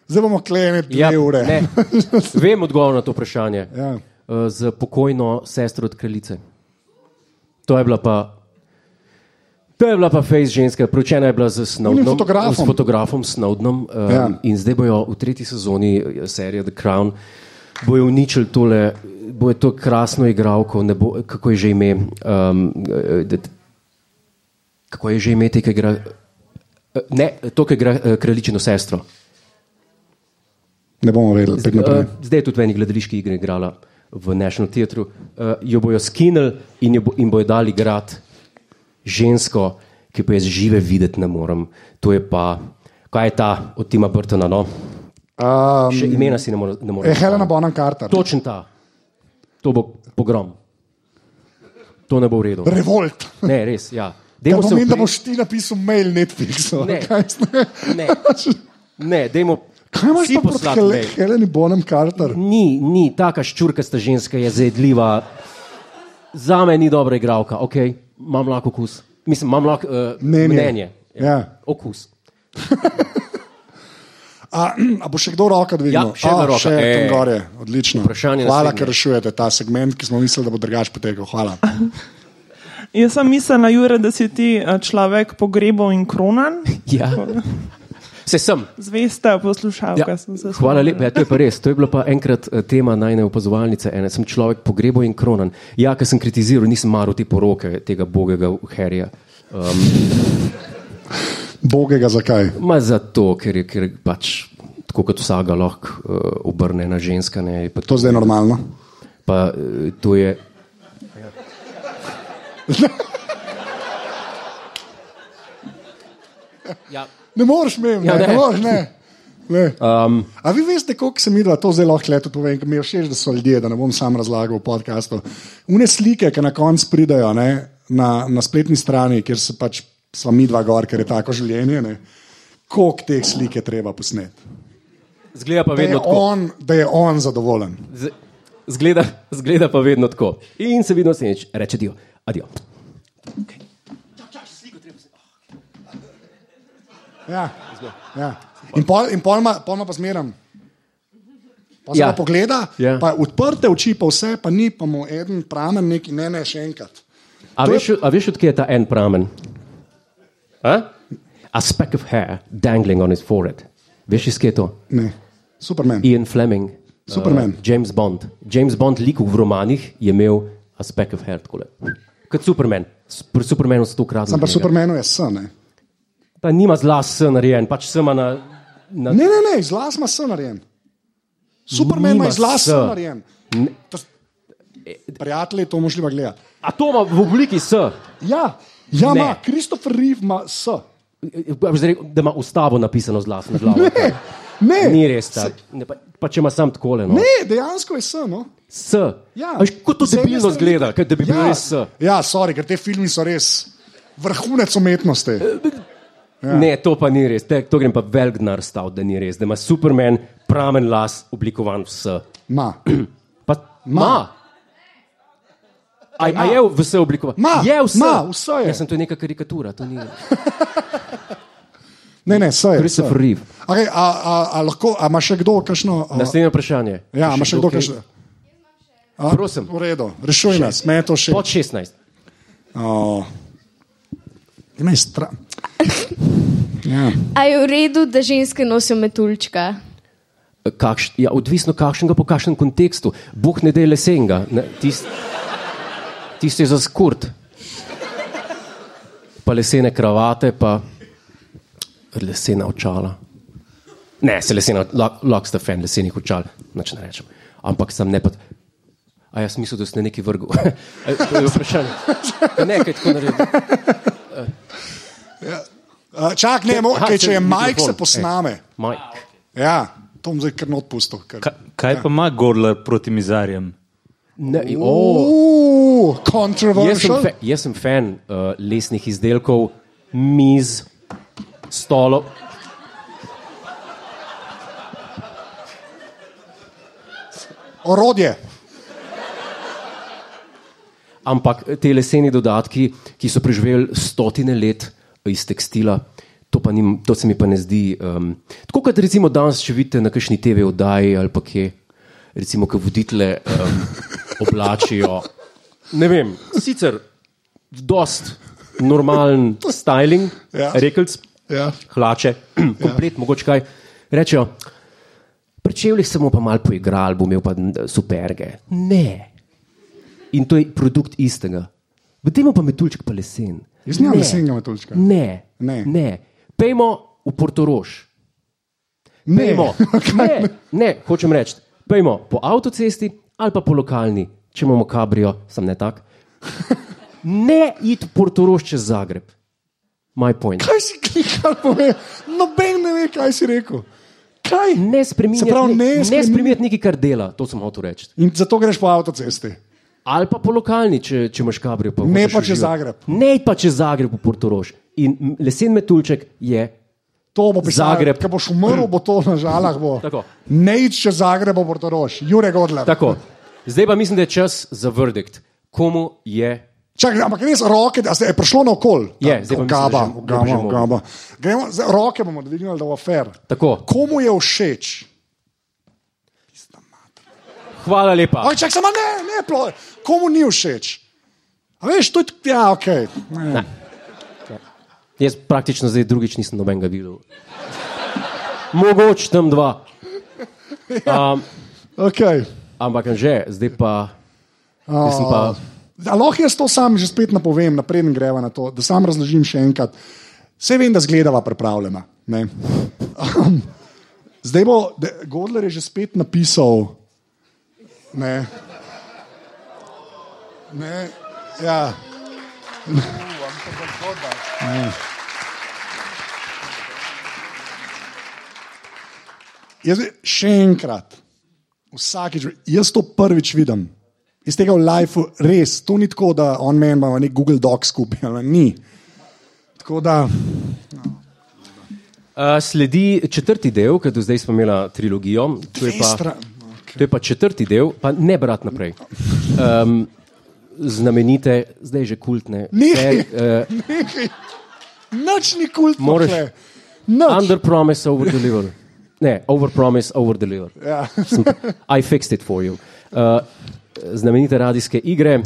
S1: Zdaj bomo klene dve
S2: Ja,
S1: ure.
S2: ne. <laughs> Vem odgovor na to vprašanje.
S1: Ja.
S2: Eh, Z pokojno sestro od kraljice. To je bila pa. To je bila pa fejs ženska, proučena je bila z Snowdenom,
S1: Onim fotografom.
S2: s fotografom Snowdenom. Um,
S1: Ja.
S2: ja. In zdaj bojo v tretji sezoni eh, serije The Crown bojo uničili tole, bojo to krasno igralko, ne bo, kako je že ime. Um, kako je že ime te, ki igra. eh, Ne, to, ki igra eh, kraljičino sestro.
S1: ne bomo vedeli, pet naprej.
S2: Uh, zdaj je tudi v eni gledališki igri igrala v National Theatre. Uh, jo bojo skinili in, jo bo, in bojo dali igrati žensko, ki pa jaz žive videti ne morem. To je pa, kaj je ta od Tima Brtona, no?
S1: Um,
S2: eh, Še imena si ne morem. Ne more
S1: je Eh, Helena Bonham Carter.
S2: Točen ta. To bo pogrom. To ne bo v redu.
S1: Revolt.
S2: Ne, res, ja.
S1: Ja,
S2: Dajmo se
S1: pomeni, da
S2: opre-
S1: boš ti napisal mail Netflixu.
S2: Ne.
S1: Kaj,
S2: Ne. Ne, dajmo.
S1: kaj imaš
S2: vsi
S1: pa proti
S2: poslati
S1: Hel
S2: mail.
S1: Heleni Bonham Carter?
S2: Ni, ni, taka ščurkasta ženska je zajedljiva. Za me ni dobra igralka, ok, imam lahko okus. Mislim, imam lahko uh,
S1: Mnenje.
S2: mnenje. mnenje.
S1: Ja.
S2: Okus.
S1: A, a bo še kdo roka dvignil?
S2: Ja, še ena
S1: A,
S2: roka.
S1: Še tam
S2: E.
S1: gor je, odlično.
S2: Vprašanje
S1: Hvala,
S2: naslednje.
S1: ker rešujete ta segment, ki smo mislili, da bo drugač potekel. Hvala.
S5: Jaz sem mislila, Jure, da si ti eh, človek pogrebov in kronan.
S2: Ja. Se sem.
S5: Zvesta poslušalka
S2: Ja.
S5: sem se spomnila.
S2: Hvala lepa, ja, to je pa res. To je bila pa enkrat eh, tema najne opazovalnice. Ene. Sem človek pogrebo in kronan. Ja, ker sem kritiziral, nisem maral te poroke tega bogega herja. Um,
S1: Bogega zakaj?
S2: Ma zato, ker je ker pač, tako kot vsaga lahko uh, obrnjena ženska. Ne, je pa
S1: To zdaj je normalno.
S2: Pa eh, to je. Ja.
S1: Ne moreš mem, ne,
S2: Ja,
S1: ne.
S2: ne.
S1: ne moreš ne. ne.
S2: Um,
S1: A vi veste, koliko sem videl, to zdaj lahko leto povem, ker mi je všeč, da so ljudje, da ne bom sam razlagal v podkastu. Une slike, ki na koncu pridajo ne, na, na spletni strani, kjer se pač sva mi dva gor, ker je tako življenje, ne. koliko teh slik je treba posneti.
S2: zgleda pa
S1: Da je,
S2: vedno tako.
S1: on, da je on zadovoljen.
S2: Z- Zgleda, zgleda pa vedno tako. In se vidno sneč, reče dio. Adijo.
S1: Ja. Ja. In pol, in pol, ma, pol ma pa zmeram. Pa se
S2: Ja.
S1: ja. pogleda, ja.
S2: Ja.
S1: pa odprte oči, pa vse, pa ni, pa mu en pramen, neki ne, ne, še enkrat.
S2: A
S1: To je-
S2: veš, a veš odkje je ta en pramen? A? a speck of hair dangling on his forehead. Veš, iz kje je to?
S1: Ne. Superman.
S2: Ian Fleming.
S1: Superman.
S2: Uh, James Bond. James Bond, likov v romanih, je imel aspekt of hair takole. Kot Superman. S- Pri Supermanu so to ukradli.
S1: Sam pa Supermanu je sen. Ne,
S2: Ta nima zla s narejen, pač sema na. na
S1: ne, ne, ne iz las ima sen narejen. Superman ima
S2: Nima
S1: iz las
S2: S.
S1: sen narejen.
S2: Ne.
S1: To s- Prijatelji, to možljiva gleda.
S2: Atoma v obliki S.
S1: Ja, ja
S2: Ne.
S1: ima, Kristofer Reeve ima S.
S2: Ja bi zdaj rekel, Da ima ustavo napisano z lasno glavo.
S1: <laughs>
S2: pač.
S1: Ne, ne.
S2: Ni res. Ta, ne, pa, pa če ima sam takole. No.
S1: Ne, dejansko je sen. No.
S2: S.
S1: Ja.
S2: A Veš, kot to
S1: Z ene
S2: debilno
S1: strani-
S2: zgleda, kot da bi bil
S1: Ja.
S2: res S.
S1: Ja, sorry, ker te filmi so res vrhunec umetnosti.
S2: Ja. Ne, to pa ni res. Te, to grem pa velgnar stav, da ni res. Da ima Superman pramen las oblikovan v S.
S1: Ma.
S2: Pa, ma. A, a je vse oblikovano?
S1: Ma,
S2: je vse.
S1: ma, vse je.
S2: Jaz sem to je neka karikatura, to ni
S1: Ne, ne, sej.
S2: Christopher Reeve.
S1: Okay, a, a, a lahko, a ima še kdo kakšno? A,
S2: Naslednje vprašanje.
S1: ja, ima še kdo
S2: kaj?
S1: kakšno?
S2: Prosim,
S1: V redu, rešuj nas, me je to še.
S2: pod 16.
S1: Oh. Ti me je strah. Ja.
S3: A je v redu, da ženske nosijo metuljčka?
S2: Kakš, ja, odvisno kakšnega, po kakšnem kontekstu. Bog ne dela lesenga, ne, tist, tisti je za skurt. Pa lesene kravate, pa lesena očala. Ne, se lesena, lok ste fan lesenih očal, noč ne rečem. Ampak sem ne pod. A jaz mislim, da ste neki vrgel. <laughs> Ej, To je vprašanje. Nekaj tako naredim.
S1: Uh, čak, ne, mo,
S2: Aha,
S1: kaj, če je
S2: se-
S1: Mike,
S2: mikrofon. Eh.
S1: se posname.
S2: Mike.
S1: Ja, to bom zdaj kar not pustil. Ker...
S6: Ka, kaj pa ima Gorler proti mizarjem?
S2: Ne, oh.
S1: Uuu,
S2: Jaz sem,
S1: controversial.
S2: fe, jaz sem fan uh, lesnih izdelkov, miz, stolov.
S1: Orodje.
S2: Ampak eh, te leseni dodatki, ki so preživeli stotine let eh, iz tekstila, to, pa ni, to se mi pa ne zdi. Um, tako kot recimo danes, če vidite na kakšni TV oddaji ali pa kje, recimo, ki voditele um, oblačijo. Ne vem, sicer dost normalen styling,
S1: Ja.
S2: ja. rekelc,
S1: Ja.
S2: hlače, <clears throat> komplet, ja. mogoče kaj. Rečejo, pri čevljih se bomo pa malo poigrali, bom imel pa n- superge. Ne. In to je produkt istega. Pojdimo pa metulček pa lesen.
S1: Jaz nimam
S2: Ne.
S1: lesenega metuljčka.
S2: Ne.
S1: Ne.
S2: ne. Pejmo v Portorož.
S1: Ne, <laughs>
S2: Pejmo. Ne, ne, hočem reči. Pejmo po avtocesti ali pa po lokalni, če imamo kabrio, sem ne tak. <laughs> Ne id v Portorož čez Zagreb. My point.
S1: kaj si klikal, pove? Noben ne ve, kaj si rekel. Kaj?
S2: Ne
S1: Se pravi, ne
S2: spremenjati ne, ne
S1: spreminjati-
S2: spreminjati nekaj, kar dela, to sem hotel reči.
S1: In zato greš po avtocesti.
S2: Ali pa po lokalni, če, če imaš kabrijo. Pa
S1: Ne
S2: hočeš
S1: pa čez
S2: uživati.
S1: Zagreb.
S2: Ne pa čez Zagreb, v Portorož. In m- lesen metulček je.
S1: To bo pisalo.
S2: Zagreb.
S1: Če boš umrl, bo to na žalah. Bo.
S2: Tako.
S1: Ne ideš čez Zagreb, bo Portorož, Jure Godler.
S2: Tako. Zdaj pa mislim, da je čas za verdikt. Komu je?
S1: Čak, ampak res roke, da se je prišlo na okol.
S2: Je, zdaj pa mislim, da
S1: gaba,
S2: že- da bi že
S1: gaba,
S2: mogel.
S1: gaba. Gremo, zdaj, roke bomo dvignili, da bo fair.
S2: Tako.
S1: Komu je všeč?
S2: Hvala lepa.
S1: Oj, čak, samo ne, ne, plo, komu ni všeč? A veš, to je, t- ja, ok.
S2: Jaz praktično zdaj drugič nisem nobenega videl. Mogoče tam dva. Um,
S1: okay.
S2: ampak že, zdaj pa. Jaz sem pa
S1: Da, lahko jaz to sam že spet napovem, napreden greva na to, da sam razložim še enkrat. Vse vem, da zgledava pripravljena. ne. Zdaj bo, de- Godler je že spet napisal. Ne. Ne. Ja. Ne. Jaz še enkrat, vsakič, jaz to prvič vidim. Iz tega v lifeu res, to ni tako, da on meni ima nek Google Doc skupaj, ali ni. Tako da,
S2: Uh, sledi četrti del, ker do zdaj smo imeli trilogijo. To je, pa,
S1: Estra-
S2: to je pa četrti del, pa ne brat naprej. Um, znamenite, zdaj že kultne.
S1: Nehaj.
S2: eh,
S1: Nekaj, nič ni kult,
S2: Moraš-
S1: moraš. Nič.
S2: under promise, over deliver. Ne, over promise, over deliver.
S1: Ja.
S2: Sem- I fixed it for you. Uh, znamenite radijske igre.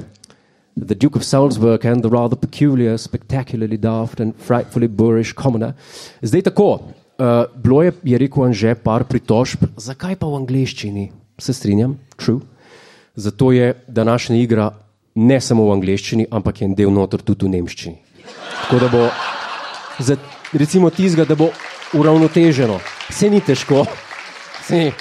S2: The Duke of Salzburg and the rather peculiar, spectacularly daft and frightfully boorish commoner. Zdaj tako, uh, bilo je, je rekel Anže, par pritožb, zakaj pa v angleščini? Se strinjam, true. Zato je današnja igra ne samo v angleščini, ampak je en del notor tudi v nemščini. Tako da bo za recimo tizga, da bo uravnoteženo. Se ni težko. Se ni.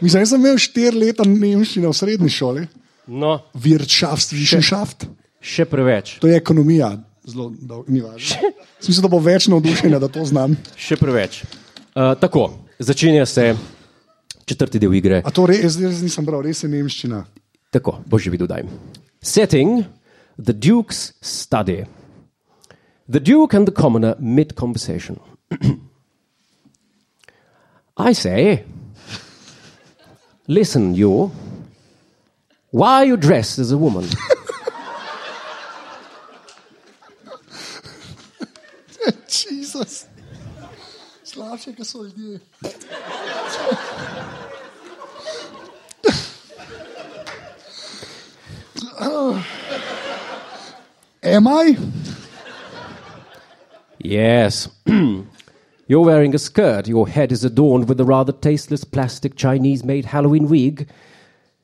S1: Mislim, jaz sem imel štiri leta nemščine v srednji šoli,
S2: No,
S1: Wirtschaft, Wissenschaft,
S2: še preveč,
S1: to je ekonomija, zelo dolgo, ni važno. Mislim, da bo več navdušenja, da to znam.
S2: še preveč. Uh, tako, začenja se četrti del igre.
S1: A to res, res nisem bral, res je nemščina.
S2: Tako, boš že videl, daj. Setting the Duke's study. The Duke and the commoner mid conversation. <clears throat> I say, listen, you. Why are you dressed as a woman?
S1: Jezus. Slabše, kot so <laughs> ljudje. Am I?
S2: Yes. <clears throat> You're wearing a skirt. Your head is adorned with a rather tasteless plastic Chinese made Halloween wig.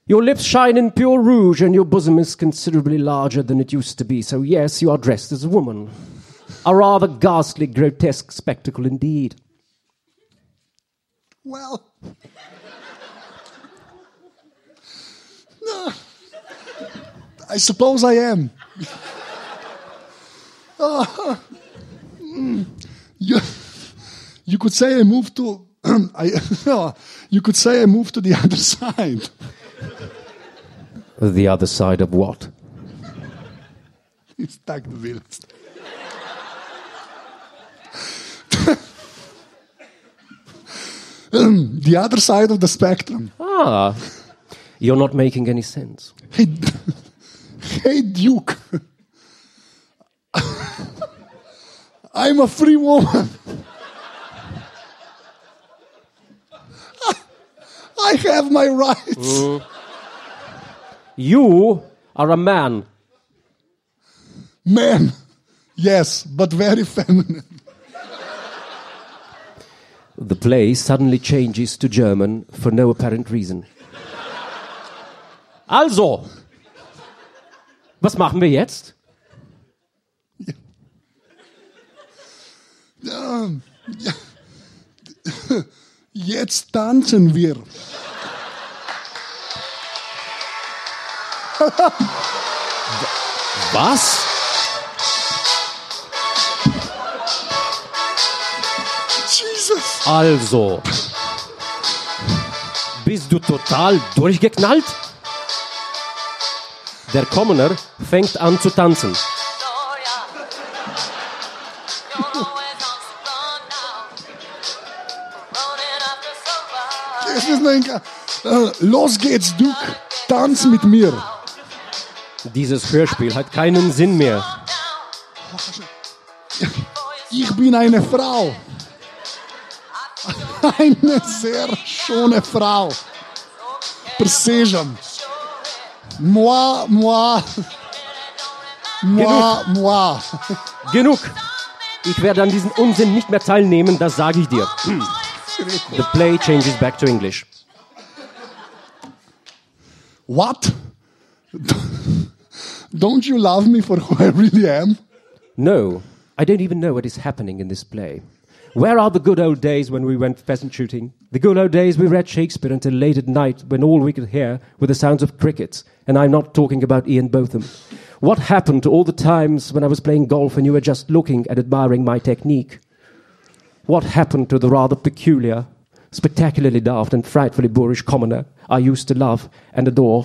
S2: Your lips shine in pure rouge, and your bosom is considerably larger than it used to be. So, yes, you are dressed as a woman. A rather ghastly, grotesque spectacle indeed.
S1: Well. No. I suppose I am. <laughs> Ah. Mm. you, you could say I moved to. <clears throat> I, <laughs> you could say I moved to the <laughs> other side.
S2: The other side of what?
S1: It's tak debilst. <laughs> the other side of the spectrum.
S2: Ah, you're not making any sense.
S1: Hey, hey Duke. I'm a free woman. I have my rights.
S2: You are a man.
S1: Man. Yes, but very feminine.
S2: The play suddenly changes to German for no apparent reason. Also, was machen wir jetzt?
S1: Jetzt tanzen wir.
S2: Was?
S1: Jesus.
S2: Also. Bist du total durchgeknallt? Der Commoner fängt an zu tanzen.
S1: Es ist ein Ka- Äh, Los geht's, Duke. Tanz mit mir.
S2: Dieses Hörspiel hat keinen Sinn mehr.
S1: Ich bin eine Frau. <laughs> Eine sehr schöne Frau. Persejam. Moi, moi. Moi, moi.
S2: Genug! Ich werde an diesem Unsinn nicht mehr teilnehmen, das sage ich dir. The play changes back to English.
S1: What? Don't you love me for who I really am?
S2: No, I don't even know what is happening in this play. Where are the good old days when we went pheasant shooting? The good old days we read Shakespeare until late at night when all we could hear were the sounds of crickets. And I'm not talking about Ian Botham. What happened to all the times when I was playing golf and you were just looking and admiring my technique? What happened to the rather peculiar, spectacularly daft and frightfully boorish commoner I used to love and adore?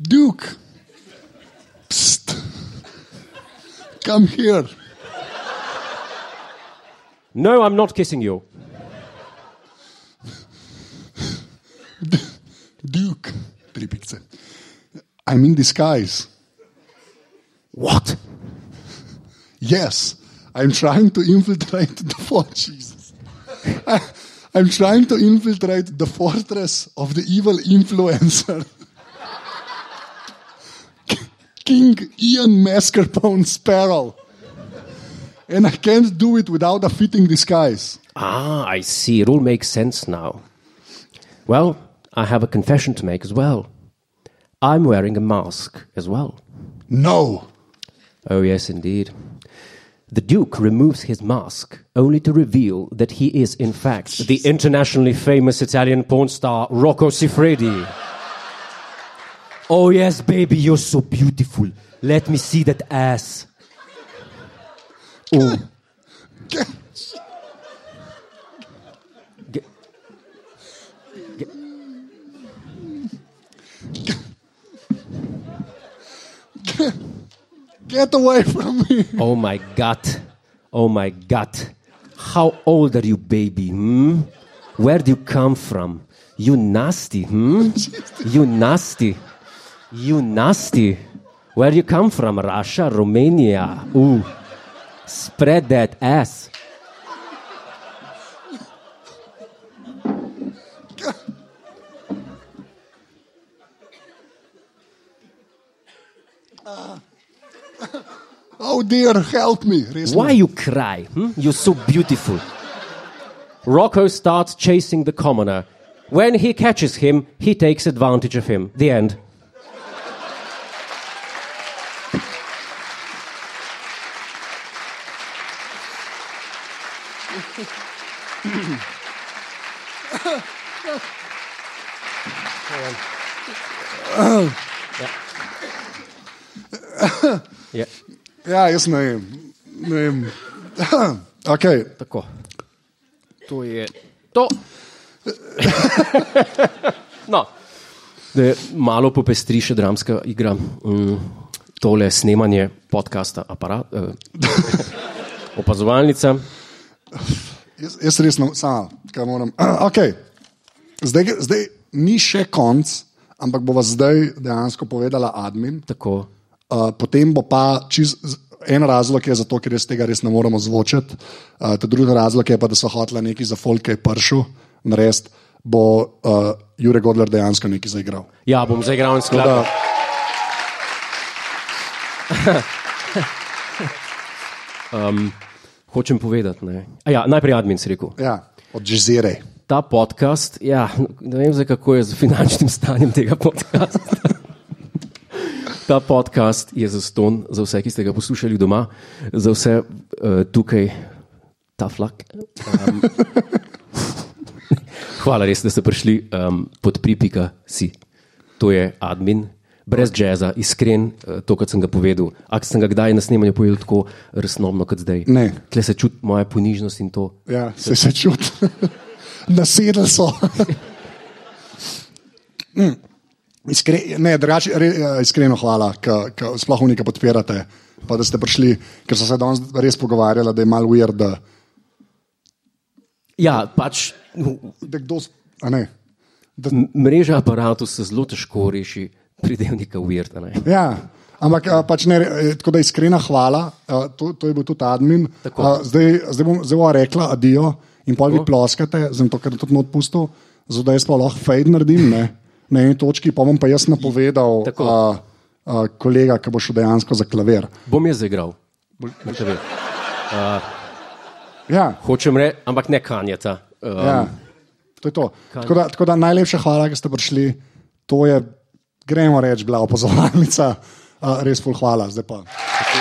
S1: Duke. Psst. Come here.
S2: No, I'm not kissing you.
S1: Duke. Three pixels. I'm in disguise.
S2: What?
S1: Yes, I'm trying to infiltrate the fort, Jesus. <laughs> I, am trying to infiltrate the fortress of the evil influencer. <laughs> King Ian Mascarpone Sparrow. And I can't do it without a fitting disguise.
S2: Ah, I see. It all makes sense now. Well, I have a confession to make as well. I'm wearing a mask as well.
S1: No.
S2: Oh, yes, indeed. The Duke removes his mask only to reveal that he is, in fact, the internationally famous Italian porn star Rocco Siffredi. Oh, yes, baby, you're so beautiful. Let me see that ass. Oh. G-
S1: Get away from me.
S2: Oh my God. Oh my God. How old are you, baby? Hmm? Where do you come from? You nasty, hmm? You nasty. You nasty. Where you come from? Russia, Romania. Ooh. Spread that ass.
S1: Oh, dear, help me. Res
S2: Why you cry? Hmm? You're so beautiful. Rocco starts chasing the commoner. When he catches him, he takes advantage of him. The end. Ja,
S1: Ja, jaz ne vem. Ne vem. <laughs> Okay.
S2: tako. To je to. no. Da je malo popestri še dramska igra, mm, tole snemanje podcasta, aparat, eh, <laughs> opazovalnica.
S1: Jaz, jaz res ne sam, kaj moram. <clears throat> Okay. Zdaj, ge- zdaj ni še konc, ampak bova zdaj dejansko povedala admin.
S2: Tako.
S1: Uh, potem bo pa čiz, z- en razlog je zato, ker res tega res ne moremo zvočiti. Uh, ta drugi razlog je pa, da so hotla neki za folke pršu, narediti bo uh, Jurek Godler dejansko nekaj zaigral.
S2: Ja, bom zdaj igral in
S1: Tako
S2: skladal. Hočem povedati. ne. A Ja, najprej admin si rekel.
S1: ja, od Džezire.
S2: Ta podcast, ja, ne vem, zdaj, kako je z finančnim stanjem tega podcasta. Ta podcast je za ston, za vse, ki ste ga poslušali doma, za vse uh, tukaj, ta flak. Um, hvala res, da ste prišli um, pod pripika si. To je admin, brez jeza, iskren, eh, to, kar sem ga povedal. Ak sem ga kdaj na snemanju povedal tako resnomno kot zdaj.
S1: Ne.
S2: Tle se čuti moja ponižnost in to.
S1: Ja, se se čuti. <laughs> Nasedli so. <laughs> Mm. Iskre, ne, drugače, re, eh, iskreno hvala, da sploh unika podpirate. Pa da ste prišli, ker so se danes res pogovarjali, da je malo weird, da,
S2: Ja, pač
S1: da kdo. s- a Ne, da,
S2: M- Mreža aparatov se zelo težko reši pridevnika Uvirta.
S1: ja, ampak eh, pač ne, eh, tako da iskrena hvala, eh, to, to je bil tudi admin. Eh, Zdaj, zdaj bom zelo rekla adijo in pa vi ploskate, sem to, kar tudi odpustil, zato da jaz pa lahko fade naredim. Ne? Na eni točki pa bom pa jaz napovedal,
S2: Tako.
S1: uh, uh, kolega, ki bo šel dejansko za klaver.
S2: Bom jaz zaigral. Boste vedeli.
S1: Ja,
S2: Hočem reči, ampak ne kanjata. Um,
S1: ja. To je to. Tako da, tako da najlepša hvala, da ste prišli. To je, gremo reči, bila opozorilnica. Uh, Eh, res pol hvala, zdaj pa.
S2: tako.